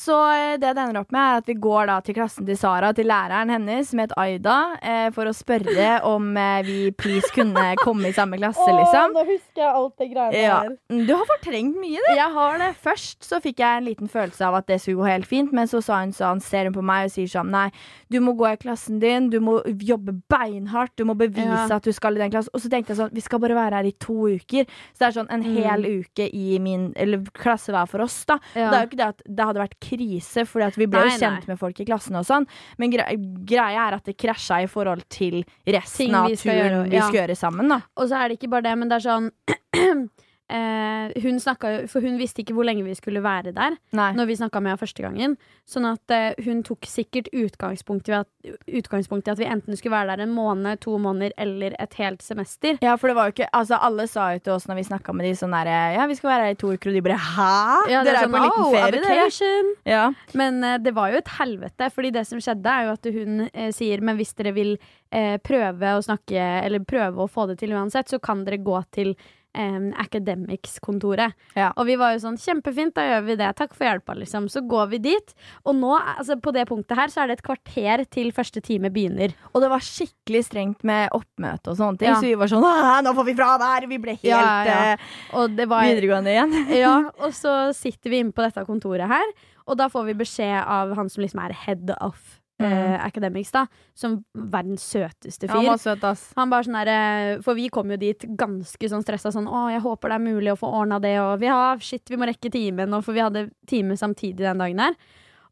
Så eh, det det ender opp med, er at vi går da til klassen til Sara, til læreren hennes, med et Aida, eh, for å
(laughs)
spørre om eh, vi please kunne komme i samme klasse, liksom.
Nå husker jeg alt det greiene
Ja. Mm, Du har fortrengt mye, du. Jeg har det. Først så fikk jeg en liten følelse av at det skulle gå helt fint, men så sa hun sånn, ser hun på meg og sier sånn, nei, du må gå i klassen din, du må jobbe beinhardt, du må bevise
Ja.
at du skal i den klassen. Og så tenkte jeg sånn, vi skal bare være her i to uker. Så det er sånn en
Mm.
hel uke i min eller, klasse hver for oss, da. Det
Ja.
er jo ikke det at det hadde vært krise, for vi ble
Nei,
jo kjent med folk i klassen og sånn, men gre greia er at det krasja i forhold til resten
Ting
av
vi skal
turen
gjøre,
vi
ja.
skal gjøre sammen, da.
Og så er det ikke bare det, men det er sånn (clears throat) eh, Hun snakka jo For hun visste ikke hvor lenge vi skulle være der
Nei.
når vi snakka med henne første gangen. Sånn at eh, hun tok sikkert utgangspunkt i, at, utgangspunkt i at vi enten skulle være der en måned, to måneder eller et helt semester.
Ja, for det var jo ikke Altså, alle sa jo til oss når vi snakka med de sånn derre Ja, vi skal være her i to uker, og de bare Hæ?
Ja, det
dere er jo
sånn,
på en
«Oh,
liten
a
ferie, dere.
vacation!»
Ja.
Men eh, det var jo et helvete, fordi det som skjedde, er jo at hun eh, sier Men hvis dere vil eh, prøve å snakke, eller prøve å få det til uansett, så kan dere gå til eh, Academics-kontoret.
Ja.
Og vi var jo sånn Kjempefint, da gjør vi det. Takk for hjelpa, liksom. Så går vi dit. Og nå, altså, på det punktet her, så er det et kvarter til første time begynner.
Og det var skikkelig strengt med oppmøte og sånne ting,
Ja.
så vi var sånn «Hæ, Nå får vi fravær! Vi ble helt
Ja, ja, ja.
eh,
Og det var
videregående igjen.
(laughs) ja, og så sitter vi inne på dette kontoret her, og da får vi beskjed av han som liksom er head of eh, academics, da, som verdens søteste fyr.
var søt, ass.
han bare sånn der, eh, For vi kom jo dit ganske sånn stressa sånn Å, jeg håper det er mulig å få ordna det, og vi har shit, vi må rekke timen, og for vi hadde time samtidig den dagen her.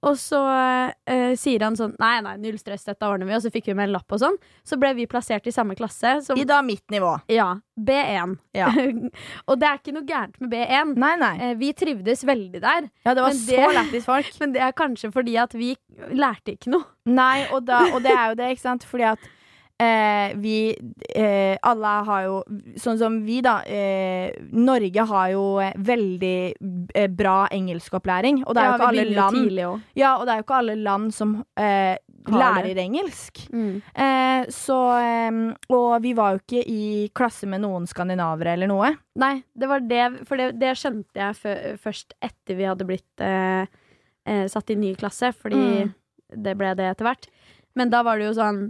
Og så eh, sier han sånn Nei, nei, null stress, dette ordner vi. Og så fikk vi med en lapp og sånn. Så ble vi plassert i samme klasse som
I da mitt nivå.
Ja, B1.
Ja.
(laughs) og det er ikke noe gærent med B1.
Nei, nei.
Eh, Vi trivdes veldig der,
Ja, det var
men
så
det-
lættis folk.
men det er kanskje fordi at vi lærte ikke noe.
Nei, og, da, og det er jo det, ikke sant? Fordi at eh, vi eh, alle har jo Sånn som vi, da. Eh, Norge har jo eh, veldig eh, bra engelskopplæring, og det er jo
Ja,
ikke
vi
alle
begynner jo
land
tidlig også.
Ja, og det er jo ikke alle land som eh,
Har det.
lærer engelsk.
Mm.
Eh, så eh, Og vi var jo ikke i klasse med noen skandinavere eller noe.
Nei, det var det, for det, det skjønte jeg fø- først etter vi hadde blitt eh, eh, satt i ny klasse, fordi
Mm.
det ble det etter hvert. Men da var det jo sånn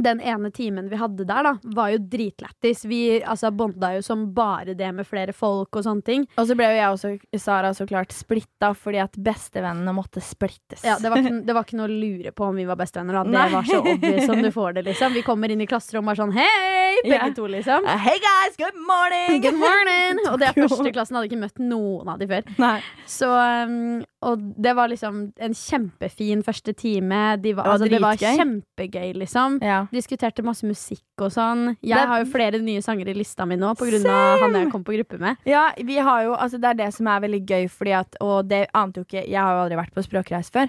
Den ene timen vi hadde der, da, var jo dritlættis. Vi altså, bonda jo som bare det med flere folk og sånne ting.
Og så ble jo jeg og Sara så klart splitta fordi at bestevennene måtte splittes.
Ja, det, var ikke, det var ikke noe å lure på om vi var bestevenner. Da. Det
Nei.
var så obvious som du får det, liksom. Vi kommer inn i klasserommet og er sånn hei, begge
Ja.
to, liksom.
Eh, (laughs) Hey guys, good morning!
Good morning! Og det er
Jo.
førsteklassen, hadde ikke møtt noen av de før.
(laughs) Nei,
Så, um, og det var liksom en kjempefin første time.
Det
De var,
var
altså, det var
dritgøy.
kjempegøy, liksom.
ja.
Diskuterte masse musikk og sånn. Jeg
Det-
har jo flere nye sanger i lista mi nå pga. han jeg kom på gruppe med.
Ja, vi har jo, altså det er det som er veldig gøy, fordi at, og det ante jo ikke Jeg har jo aldri vært på språkreis før.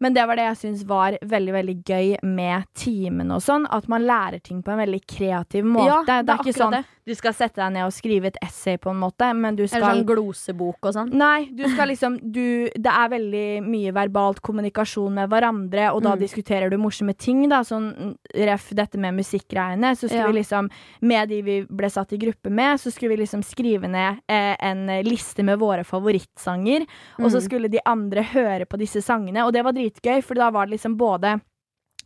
Men det var det jeg syns var veldig veldig gøy med timene og sånn. At man lærer ting på en veldig kreativ måte.
Ja,
det, er
det er
ikke
akkurat
sånn
det.
du skal sette deg ned og skrive et essay, på en måte, men du
Eller
skal
sånn glosebok og sånn.
Nei, du skal liksom du, Det er veldig mye verbalt kommunikasjon med hverandre, og da
Mm.
diskuterer du morsomme ting, da. Sånn ref dette med musikkgreiene. Så skulle
Ja.
vi liksom, med de vi ble satt i gruppe med, så skulle vi liksom skrive ned eh, en liste med våre favorittsanger. Og så
Mm.
skulle de andre høre på disse sangene, og det var dritgøy, for da var det liksom både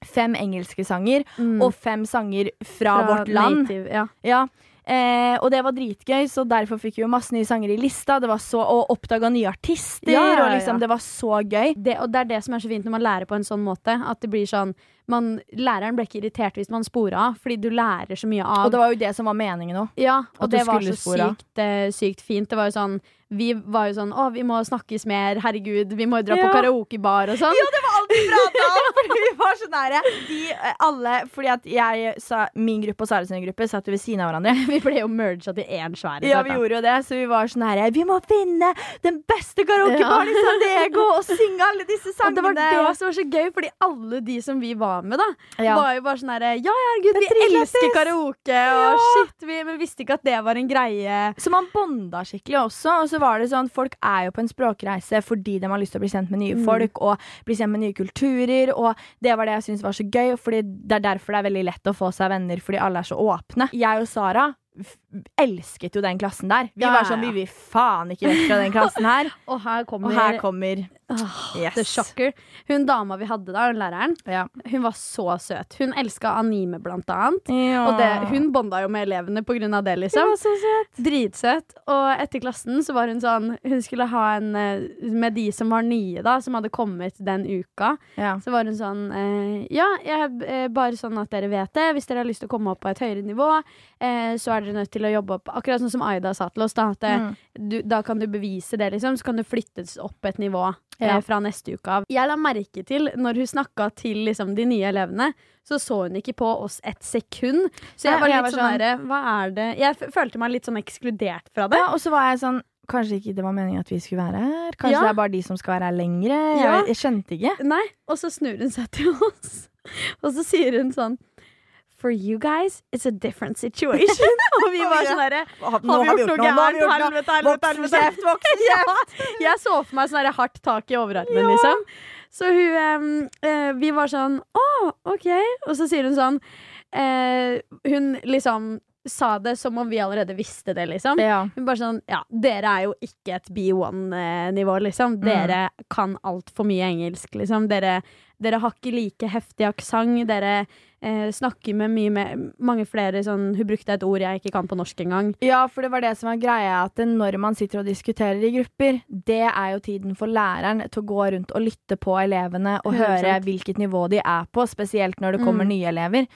fem engelske sanger
Mm.
og fem sanger fra,
Fra
vårt land.
native, ja.
Ja, eh, og det var dritgøy, så derfor fikk vi jo masse nye sanger i lista. Det var så, og oppdaga nye artister,
Ja, ja,
og liksom,
ja.
det var så gøy.
det, og det er det som er så fint når man lærer på en sånn måte. At det blir sånn man, Læreren ble ikke irritert hvis man spora av, fordi du lærer så mye av
Og det var jo det som var meningen òg.
Ja, og
At du
det var
skulle
så
spore av.
sykt, eh, sykt fint. Det var jo sånn Vi var jo sånn Å, vi må snakkes mer, herregud. Vi må jo dra
Ja.
på karaokebar og sånn.
det var alt vi prata om! (laughs) Fordi vi var så nære. De, eh, alle, fordi at jeg sa min gruppe og Sara sin gruppe satt jo ved siden av
(laughs)
hverandre.
(laughs) Vi ble jo merga til én svær
Ja, vi
etter hvert, da.
gjorde jo det, så vi var sånn her Vi må finne den beste karaokebaren i San Diego og synge alle disse
Og det
sangene!
var det som var så gøy, fordi alle de som vi var med, da,
Ja.
var jo bare sånn herre Ja, ja, herregud,
Det
vi
trives.
elsker karaoke,
Ja.
og shit, vi men visste ikke at det var en greie.
Så man bonda skikkelig også. Og så var det sånn, Folk er jo på en språkreise fordi de har lyst til å bli kjent med nye
Mm.
folk og bli kjent med nye kulturer. Og det var det jeg syntes var så gøy, Fordi det er derfor det er veldig lett å få seg venner, fordi alle er så åpne. Jeg og Sara f- elsket jo den klassen der. Vi
Ja,
var
ja,
sånn,
ja.
vi vil faen ikke vekk fra den klassen her.
Og her
(laughs)
kommer,
Og her kommer
Åh,
Yes.
The Shocker. Hun dama vi hadde da, hun læreren,
ja.
hun var så søt. Hun elska anime, blant annet.
Og
Og det, hun bonda jo med elevene på grunn av det, liksom.
var så søt.
Dritsøt. Og etter klassen så var hun sånn Hun skulle ha en eh, med de som var nye, da, som hadde kommet den uka.
Ja.
Så var hun sånn eh, Ja, jeg, eh, bare sånn at dere vet det. Hvis dere har lyst til å komme opp på et høyere nivå, eh, så er dere nødt til å jobbe opp Akkurat sånn som Aida sa til oss, da. At, eh,
Mm.
du, da kan du bevise det, liksom. Så kan du flyttes opp et nivå eh,
Ja.
fra neste uke av. Jeg la merke til, når hun snakka til liksom, de nye elevene, så så hun ikke på oss et sekund. Så jeg
Nei,
var
jeg
litt
var
sånn
sånn-
derre Hva er det Jeg f følte meg litt sånn ekskludert fra det.
Ja, og så var jeg sånn Kanskje ikke det var meningen at vi skulle være her? Kanskje
Ja.
det er bare de som skal være her lengre?
Ja.
Jeg, jeg skjønte ikke.
Nei, og så snur hun seg til oss, (laughs) og så sier hun sånn For you guys, it's a different situation. (laughs) og vi
(laughs)
var sånn herre Har vi gjort noe gærent? Helvete, helvete, helvete.
voksen
(laughs) Jeg så for meg sånn herre hardt tak i overarmen,
Ja.
liksom. Så hun em, eh, Vi var sånn Å, OK. Og så sier hun sånn eh, Hun liksom sa det som om vi allerede visste det, liksom.
Ja.
Hun bare sånn Ja, dere er jo ikke et B1-nivå,
Mm.
liksom. Dere kan altfor mye engelsk, liksom. Dere, dere har ikke like heftig aksent. Dere eh, snakker med mye mer Mange flere sånn Hun brukte et ord jeg ikke kan på norsk engang.
ja, for det var det som var greia, at når man sitter og diskuterer i grupper, det er jo tiden for læreren til å gå rundt og lytte på elevene og
100%.
høre hvilket nivå de er på, spesielt når det kommer
Mm.
nye elever.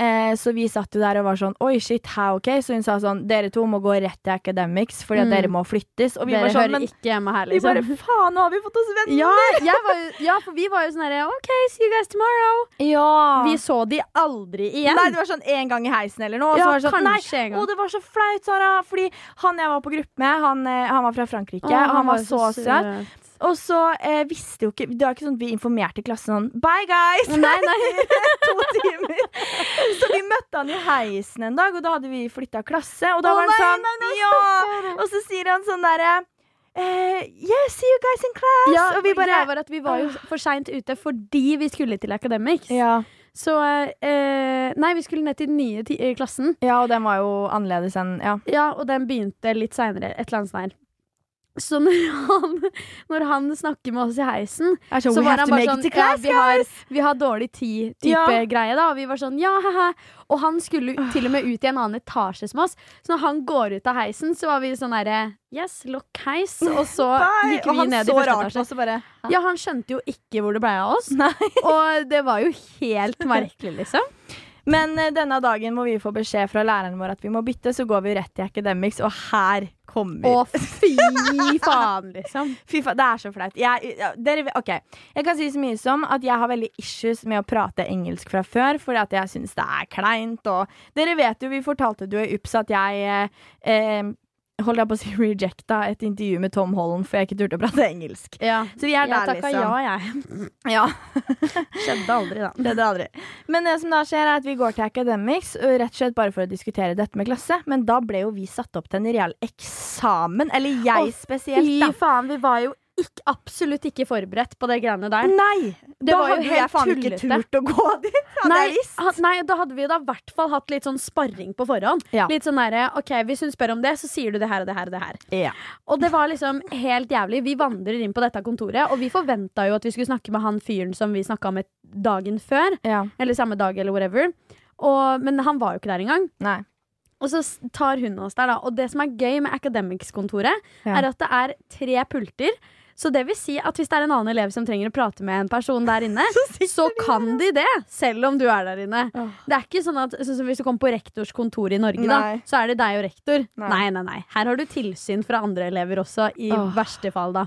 Eh, så vi satt jo der og var sånn Oi, shit, hæ, ok? Så hun sa sånn Dere to må gå rett til academics, fordi at
Mm.
dere må flyttes. Og vi
dere
var sånn,
hører
men
ikke hjemme her,
vi bare
liksom.
Faen, nå har vi fått oss venner!
ja, jeg var jo, ja, for vi var jo sånn herre OK, see you guys tomorrow.
Ja.
Vi så de aldri igjen.
Nei, det var sånn én gang i heisen eller noe. og så
Ja,
var det sånn,
kanskje
nei,
en gang.
Å, det var så flaut, Sara. Fordi han jeg var på gruppe med, han, eh, han var fra Frankrike.
Å,
og han, var så
søt.
søt. Og så eh, visste jo ikke Det var ikke sånn at vi informerte klassen sånn Bye, guys!
(laughs) Nei, nei.
(laughs) to timer. Så vi møtte han i heisen en dag, og da hadde vi flytta klasse. Og da
Å,
var han
nei,
sånn
nei, nei,
Ja! Og så sier han sånn derre eh, Yeah, see you guys in class!
Ja,
og vi bare
greia var at vi var jo for seint ute fordi vi skulle til Academics.
ja.
Så eh, Nei, vi skulle ned til den nye ti eh, klassen.
ja, og den var jo annerledes enn Ja.
Ja, og den begynte litt seinere, et eller annet sted. Så når (laughs) han, når han snakker med oss i heisen,
Så,
så
we
var
have
han
to
bare
make
sånn
it to class,
ja, vi, har, vi har dårlig tid-type
Ja.
greie, da. Og vi var sånn ja, he-he. Og han skulle jo til og med ut i en annen etasje som oss. Så når han går ut av heisen, så var vi sånn derre yes, lokk heis. Og så (laughs)
Nei,
gikk vi ned i første etasje.
også bare
Ja, han skjønte jo ikke hvor det blei av oss.
Nei.
Og det var jo (laughs) helt merkelig, liksom.
Men eh, denne dagen hvor vi får beskjed fra læreren vår at vi må bytte, så går vi rett til Academics, og her kommer
Å, fy faen, liksom.
Fy faen, det er så flaut. Jeg, ja, dere, ok. jeg kan si så mye som at jeg har veldig issues med å prate engelsk fra før, fordi at jeg syns det er kleint. Og dere vet jo, vi fortalte det jo i UPS at jeg eh, eh, holdt jeg på å si (laughs) rejecta et intervju med Tom Holland, for jeg ikke turte å prate engelsk.
Ja.
Så vi er
Jeg
der,
takka
liksom. Mm-hmm.
ja, jeg.
Ja, (laughs)
Skjedde aldri, da.
det er det aldri. Men det som da skjer, er at vi går til Academics ø, rett og slett bare for å diskutere dette med klasse. Men da ble jo vi satt opp til en real eksamen. Eller jeg
Å,
spesielt,
Fy
da.
faen, vi var jo ikke, absolutt ikke forberedt på det greiene der.
Nei!
Det
da
var jo
hadde
helt
jeg faen ikke
tullete.
turt å gå (laughs) dit. Hadde jeg visst.
ha, nei, da hadde vi da i hvert fall hatt litt sånn sparring på forhånd.
Ja.
Litt sånn derre OK, hvis hun spør om det, så sier du det her og det her og det her. Og det var liksom helt jævlig. Vi vandrer inn på dette kontoret, og vi forventa jo at vi skulle snakke med han fyren som vi snakka med dagen før.
Ja.
Eller samme dag, eller whatever. Og, men han var jo ikke der engang.
Nei.
Og så s- tar hun oss der, da. Og det som er gøy med Academics-kontoret,
Ja.
er at det er tre pulter. Så det vil si at hvis det er en annen elev som trenger å prate med en person der inne, så, kan de det, selv om du er der inne.
Åh.
Det er ikke sånn at sånn som Hvis du kommer på rektors kontor i Norge, da,
Nei.
så er det deg og rektor.
Nei.
Nei. nei, nei, Her har du tilsyn fra andre elever også, i
Åh.
verste fall, da.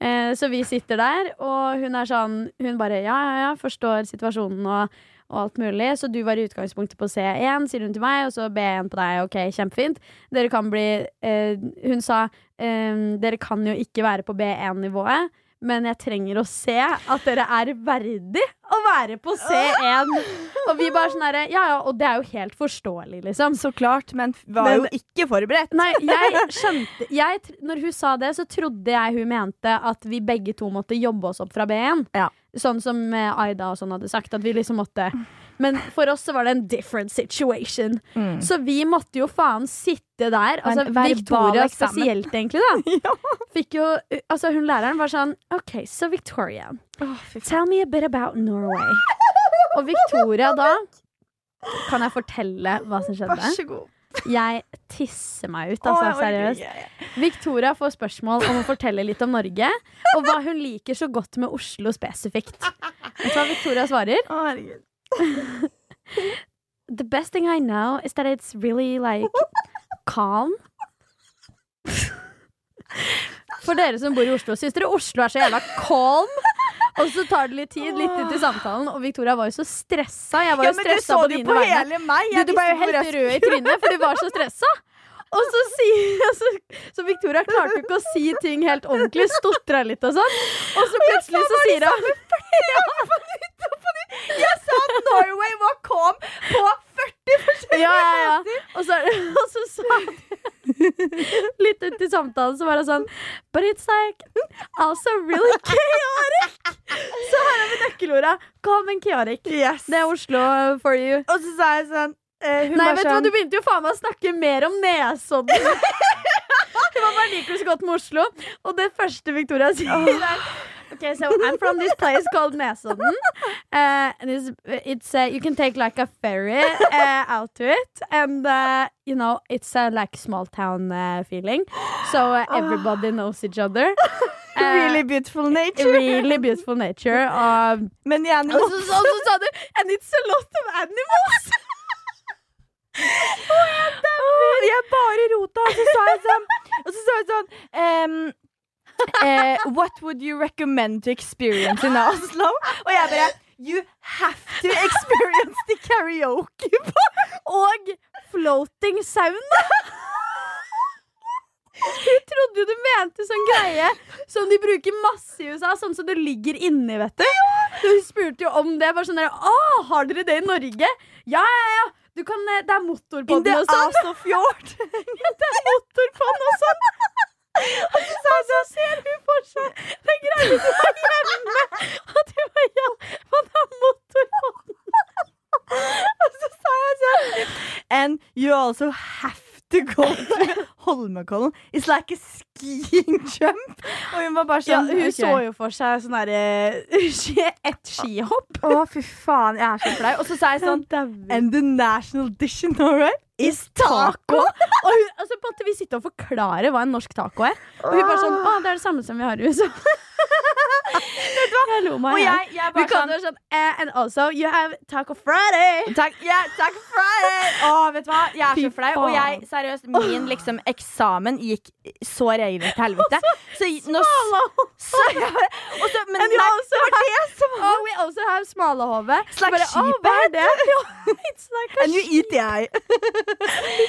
Eh, så vi sitter der, og hun er sånn Hun bare ja, ja, ja, forstår situasjonen og, og alt mulig. Så du var i utgangspunktet på C1, sier hun til meg, og så B1 på deg. Ok, kjempefint. Dere kan bli eh, Hun sa ehm, dere kan jo ikke være på B1-nivået. Men jeg trenger å se at dere er verdig å være på C1. Og vi bare sånn herre Ja ja, og det er jo helt forståelig, liksom.
Så klart, men var
Men-
jo ikke forberedt.
Nei, jeg skjønte jeg, tr- Når hun sa det, så trodde jeg hun mente at vi begge to måtte jobbe oss opp fra B1.
Ja.
Sånn som eh, Aida og sånn hadde sagt. At vi liksom måtte Men for oss så var det en different situation.
Mm.
Så vi måtte jo faen sitte der. Altså,
En verbal
Victoria
eksamen.
spesielt, egentlig, da.
(laughs) Ja.
Fikk jo Altså, hun læreren var sånn OK, så Victoria, tell me a bit about Norway. Og Victoria da Kan jeg fortelle hva som skjedde?
Vær så god.
Jeg tisser meg ut, altså.
Å, jeg orker
seriøst.
ikke.
Victoria får spørsmål om å fortelle litt om Norge, og hva hun liker så godt med Oslo spesifikt. Vet du hva Victoria svarer?
Å, herregud.
The best thing I know is that it's really like (laughs) calm. (laughs) For dere som bor i Oslo, syns dere Oslo er så jævla calm? Og så tar det litt tid, litt ut i samtalen, og Victoria var jo så stressa. Jeg var
Ja,
jo
men du
stressa
så
på
det jo
dine
på
vegne.
hele meg.
Du,
Jeg
du ble jo
visste hvor
helt
jeg-
rød i trynet, for du var så stressa. Og så sier (laughs) og så, så Victoria klarte jo ikke å si ting helt ordentlig. Stotra litt og sånn. Og så plutselig så sier hun
(laughs) Jeg sa at Norway var calm på 40 forskjellige
ja, ja,
(laughs)
ja. Og så, (laughs) og så sa hun Litt ut i samtalen så var hun sånn But it's like mm, also really chaotic. Så her er vi nøkkelorda. Calm and chaotic.
Yes.
Det er Oslo for you.
Og så sa jeg sånn eh, hun
Nei,
bare
vet du hva,
sånn,
du begynte jo faen meg å snakke mer om Nesodden.
(laughs)
Hun var bare liker du så godt med Oslo. Og det første Victoria sier er (laughs) Ok, so I'm from this place called (laughs) Nesodden. Uh, and it's, it's, uh, you can take like a ferry uh, out to it. And, uh, you know, it's uh, like small town uh, feeling. So uh, everybody knows each (laughs) other. Uh,
(laughs) Really beautiful nature.
really beautiful nature. Um, (laughs)
Men igjen,
og så, så, så sa du And it's a lot of animals (laughs) Oh,
Åh, jeg bare rota, og så sa jeg sånn, og så sa jeg sånn ehm, eh, What would you recommend to experience in Oslo? Og jeg bare You have to experience the karaoke bar.
Og floating sauna Hun trodde jo du mente sånn greie Som de bruker masse i USA Sånn som det ligger inni, vet du Så Hun spurte jo om det Bare sånn der, «Å, har dere det i Norge? Ja, ja, ja du kan, eh, det er motor på
In the
den og sånn
Oslo fjord.
Det er motor på den og sånn Og så ser hun for seg den greia som var hjemme, og det var ja, man har motorhånd.
Og så sa jeg sånn And you also have to go to Holmenkollen. It's like a skiing jump. Og hun var bare
Ja,
sånn
hun
ok.
så jo for seg sånn (laughs) derre Et skihopp.
Å, fy faen, jeg er så flau. Og så sa jeg sånn
dauer.
And the national dish in Norway is taco.
Taco! (laughs) Og hun, altså, på en måte, vi sitter og forklarer hva en norsk taco er. Og hun bare sånn Å, det er det samme som vi har i USA. (laughs) Vet du hva? Jeg lo meg
Og
i hjel.
jeg, jeg
Vi
bare
kan
sånn
være sånn eh, And also, you have taco Friday!
Takk, ja, takk for det! Å, vet du hva? Jeg er
Fy
så flau. Og jeg,
faen.
seriøst, min liksom eksamen gikk så regelrett til helvete. Så nå så, og så, Men
(laughs) And you
nei,
(laughs) also
det var det som var
Oh, we also have smalahove.
It's like
Bare, «Å,
sheep
hva er det? eh?" (laughs) Ja, It's like a
And you eat the eye.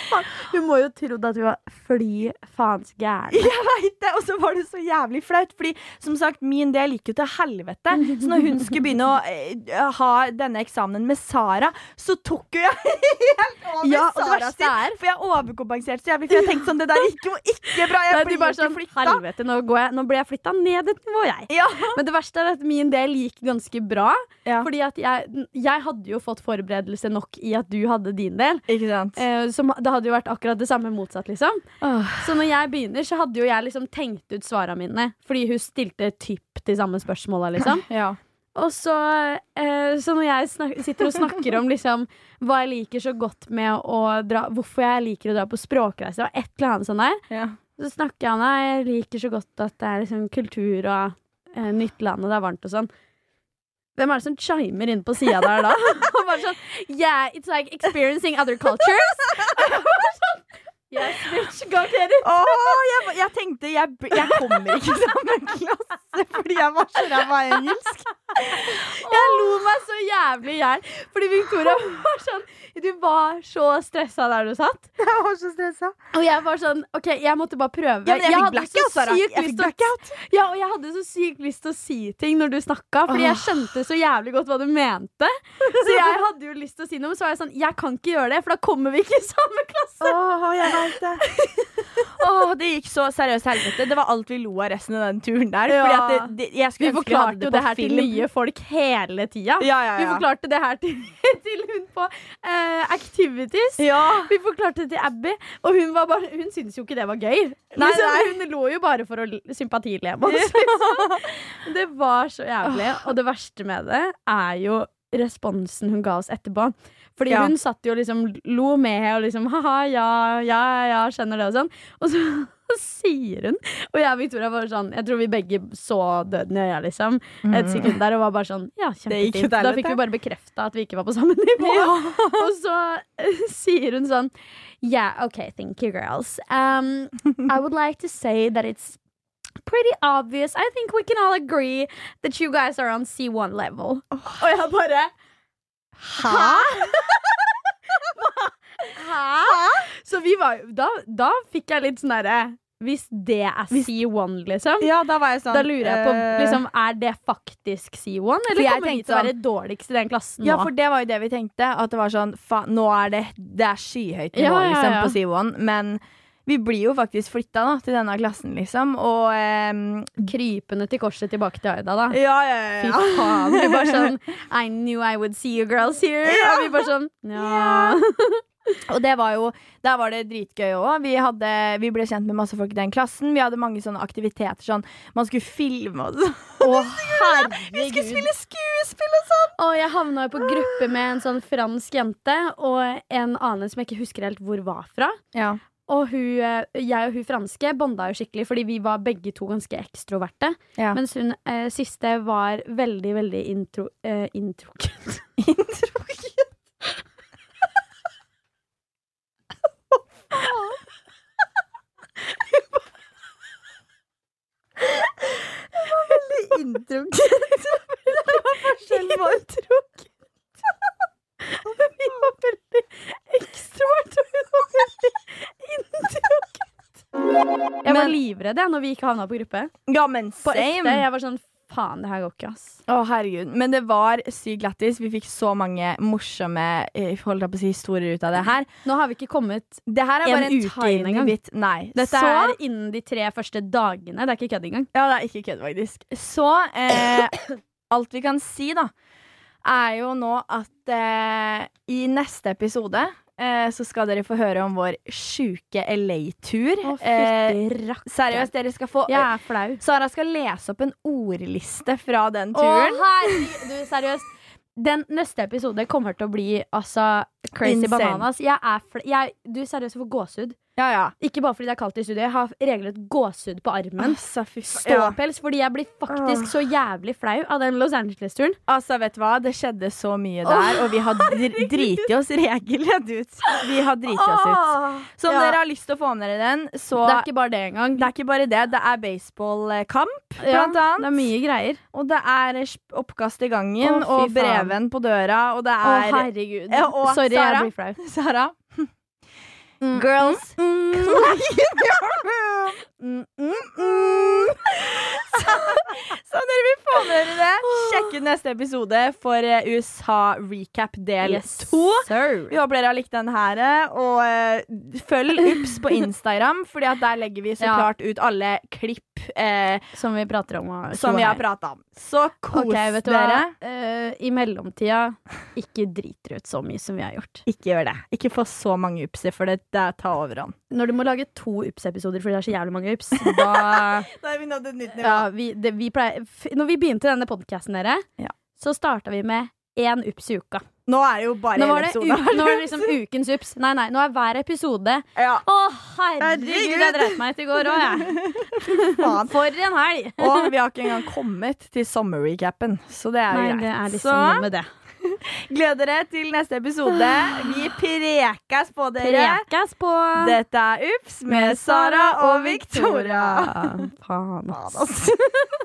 faen. Hun må jo trodd at vi var fly faens gærne.
(laughs) Jeg vet det, Og så var det så jævlig flaut, Fordi som sagt, min del gikk jo til helvete. Så når hun skulle begynne å eh, ha denne eksamenen med Sara, så tok jo jeg (laughs) helt over
Ja, og det
Sara
verste
sin.
er-
For jeg overkompenserte så jævlig. For jeg tenkte sånn, det der gikk jo ikke bra. Jeg
Nei,
blir
du bare
jo
sånn,
ikke flytta.
helvete, nå, går jeg, nå ble jeg flytta ned et nivå, jeg.
Ja.
Men det verste er at min del gikk ganske bra.
Ja.
Fordi at jeg, jeg hadde jo fått forberedelse nok i at du hadde din del.
Ikke sant?
Eh, som, det hadde jo vært akkurat det samme motsatt, liksom. Så når jeg begynner, så hadde jo jeg liksom tenkt ut svara mine. Fordi hun stilte typ de samme spørsmåla, liksom.
Ja.
Og så, eh, så når jeg snak sitter og snakker om liksom, hva jeg liker så godt med å dra Hvorfor jeg liker å dra på språkreise og et eller annet sånt der,
Ja.
så snakker jeg om det. Jeg liker så godt at det er liksom kultur og eh, nytt land, og det er varmt og sånn. Hvem er det som chimer inn på sida der da? (laughs) Og bare sånn Yeah, it's like experiencing other cultures. (laughs) Og jeg bare sånn, yes, bitch, go get it.
Åh, jeg, ba- jeg tenkte jeg, b- jeg kommer ikke i samme klasse fordi jeg var så ræva i engelsk.
Jeg lo meg så jævlig i hjel. Fordi Victoria var sånn Du var så stressa der du satt.
Jeg var så stressa.
Og jeg var sånn OK, jeg måtte bare prøve.
Ja, men jeg, fikk
hadde så
blackout, Sara.
sykt
Jeg fikk
lyst til å-
blackout.
Ja, og jeg hadde så sykt lyst til å si ting når du snakka, fordi jeg skjønte så jævlig godt hva du mente. Så jeg hadde jo lyst til å si noe, men så var jeg sånn Jeg kan ikke gjøre det, for da kommer vi ikke i samme klasse.
Åh, jeg vet det. Åh, det gikk så seriøst helvete. Det var alt vi lo av resten av den turen der. Fordi
Ja.
at det, det, jeg skulle
Vi
ønske vi hadde
forklarte jo
det
det
på
her til
film.
nye folk hele tida.
Ja, ja,
Vi
ja.
forklarte det her til, (laughs) til hun på eh, Activities.
Ja.
Vi forklarte det til Abby, og hun, var bare, hun syntes jo ikke det var gøy.
Nei,
liksom,
nei.
Hun lå jo bare for å l- sympatileve
(laughs)
oss. liksom. Det var så jævlig. Og det verste med det er jo responsen hun ga oss etterpå. Fordi
Ja.
hun satt jo og liksom lo med og liksom ha-ha, ja, ja, ja, skjønner det og sånn. Og så (laughs) sier hun, og jeg og Victoria var sånn Jeg tror vi begge så døden i øya, liksom,
Mm.
et sekund der, og var bare sånn Ja,
Det gikk
kjempefint.
jo
Da
deilig,
fikk
det.
vi bare bekrefta at vi ikke var på samme (laughs) nivå. Og så eh, (laughs) sier hun sånn Yeah, okay, thank you girls. Um, I would like to say that it's pretty obvious. I think we can all agree that you guys are on C1 level. Og jeg bare (laughs)
Hæ?
Hæ? Så vi var jo da, da fikk jeg litt sånn derre Hvis det er C1, liksom.
Ja, da var jeg sånn
Da lurer jeg på,
eh,
liksom, er det faktisk C1,
For
eller
jeg
kommer vi
tenkte
til å være
sånn-
dårligst i den klassen
Ja,
nå?
for det var jo det vi tenkte. At det var sånn fa Nå er det, det er skyhøyt nivå
Ja, ja,
liksom,
ja.
på Sivoen. Men vi blir jo faktisk flytta da, til denne klassen, liksom. Og ehm,
Krypende til korset tilbake til Aida, da.
Ja, ja,
Fy faen. Vi bare (laughs) sånn I knew I would see you girls here. Og vi bare sånn ja.
(laughs)
(laughs)
Og det var jo Der var det dritgøy òg. Vi, hadde- vi ble kjent med masse folk i den klassen. Vi hadde mange sånne aktiviteter sånn Man skulle filme og sånn. (laughs) Vi
Å,
skulle
herregud.
spille skuespill og sånn!
Og jeg havna jo på gruppe med en sånn fransk jente og en annen som jeg ikke husker helt hvor var fra.
Ja.
Og hun, eh, jeg og hun franske bonda jo skikkelig, fordi vi var begge to ganske ekstroverte.
Ja. (laughs)
Mens hun eh, siste var veldig, veldig intro, eh, (laughs) intrukket.
Introen.
Intrukket? (laughs) Det var forskjell på intrukket. Vi var veldig ekstrovert, og hun var veldig intrukket. Jeg var
Men-
livredd jeg når vi ikke havna på gruppe.
Ja, men
På ekte.
same.
Jeg var sånn faen, det her går ikke, ass.
Å, herregud. Men det var sykt lættis. Vi fikk så mange morsomme eh, holdt jeg på å si, historier ut av det her.
Nå har vi ikke kommet
Det her er
En
bare en
uke inn
tiny
engang.
bit. Nei.
Dette
så
er innen de tre første dagene. Det er ikke kødd engang.
Ja, det er ikke kødd, faktisk. Så eh, alt vi kan si, da, er jo nå at eh, i neste episode eh, så skal dere få høre om vår sjuke LA-tur. Eh, seriøst, dere skal få
Jeg er flau.
Sara skal lese opp en ordliste fra den
Å,
turen.
herregud, du, seriøst. Den neste episode kommer til å bli altså, crazy
Insane.
bananas. Jeg er fl jeg, du, seriøst, jeg får gåsehud.
Ja, ja.
Ikke bare fordi det er kaldt i studio. Jeg har regelrett gåsehud på armen.
altså, fy
Ah,
faen. Ja.
Ståpels, fordi jeg blir faktisk så jævlig flau av den Los Angeles-turen.
Altså, vet du hva? Det skjedde så mye der, og vi har dr driti oss regelrett ut. Vi har driti oss ut. Så om
Ja.
dere har lyst til å få med dere den, så
Det er ikke bare det engang.
Det er ikke bare det. Det er baseballkamp,
Ja,
blant annet.
det er mye greier.
Og det er sp- oppkast i gangen,
Å, fy
og
faen.
breven på døra, og det
Å,
er
herregud.
Ja, og
Sorry,
Sara.
jeg blir
(laughs)
flau.
Sara.
Mm.
(laughs) Girls.
Mm.
Mm, mm, mm. (laughs) Så, så om dere vil få med dere det, sjekk ut neste episode for eh, USA recap del
Yes,
to.
sir.
Vi håper dere har likt den her, og eh, følg Ups på Instagram, Fordi at der legger vi så
Ja.
klart ut alle klipp eh,
Som vi prater om. og-
som vi har prata om. Så kos
Ok, vet du
dere.
hva? Eh, I mellomtida, ikke drit dere ut så mye som vi har gjort.
Ikke gjør det. Ikke få så mange upser, for det, det tar overhånd.
Når du må lage to UPS-episoder fordi det er så jævlig mange (laughs) UPS, da
Da har vi nådd et nytt
ja, vi, det, vi pleier, f- Når vi begynte denne podkasten, dere,
Ja.
så starta vi med én UPS i uka.
Nå er det jo bare
Nå var
hele
det, u
episoden.
nå var det liksom ukens UPS. Nei, nei, nå er hver episode
(laughs) Ja,
Å, herregud, jeg
Herregud.
dreit meg ut i går òg, jeg. (laughs)
faen.
For en helg!
Og vi har ikke engang kommet til sommerrecapen, så det er jo
Nei,
greit.
det er liksom noe
så
med det.
gled dere til neste episode. Vi prekas på dere.
Prekes på
Dette er Ups med Sara og Victoria.
Faen,
Faen,
ass.
altså.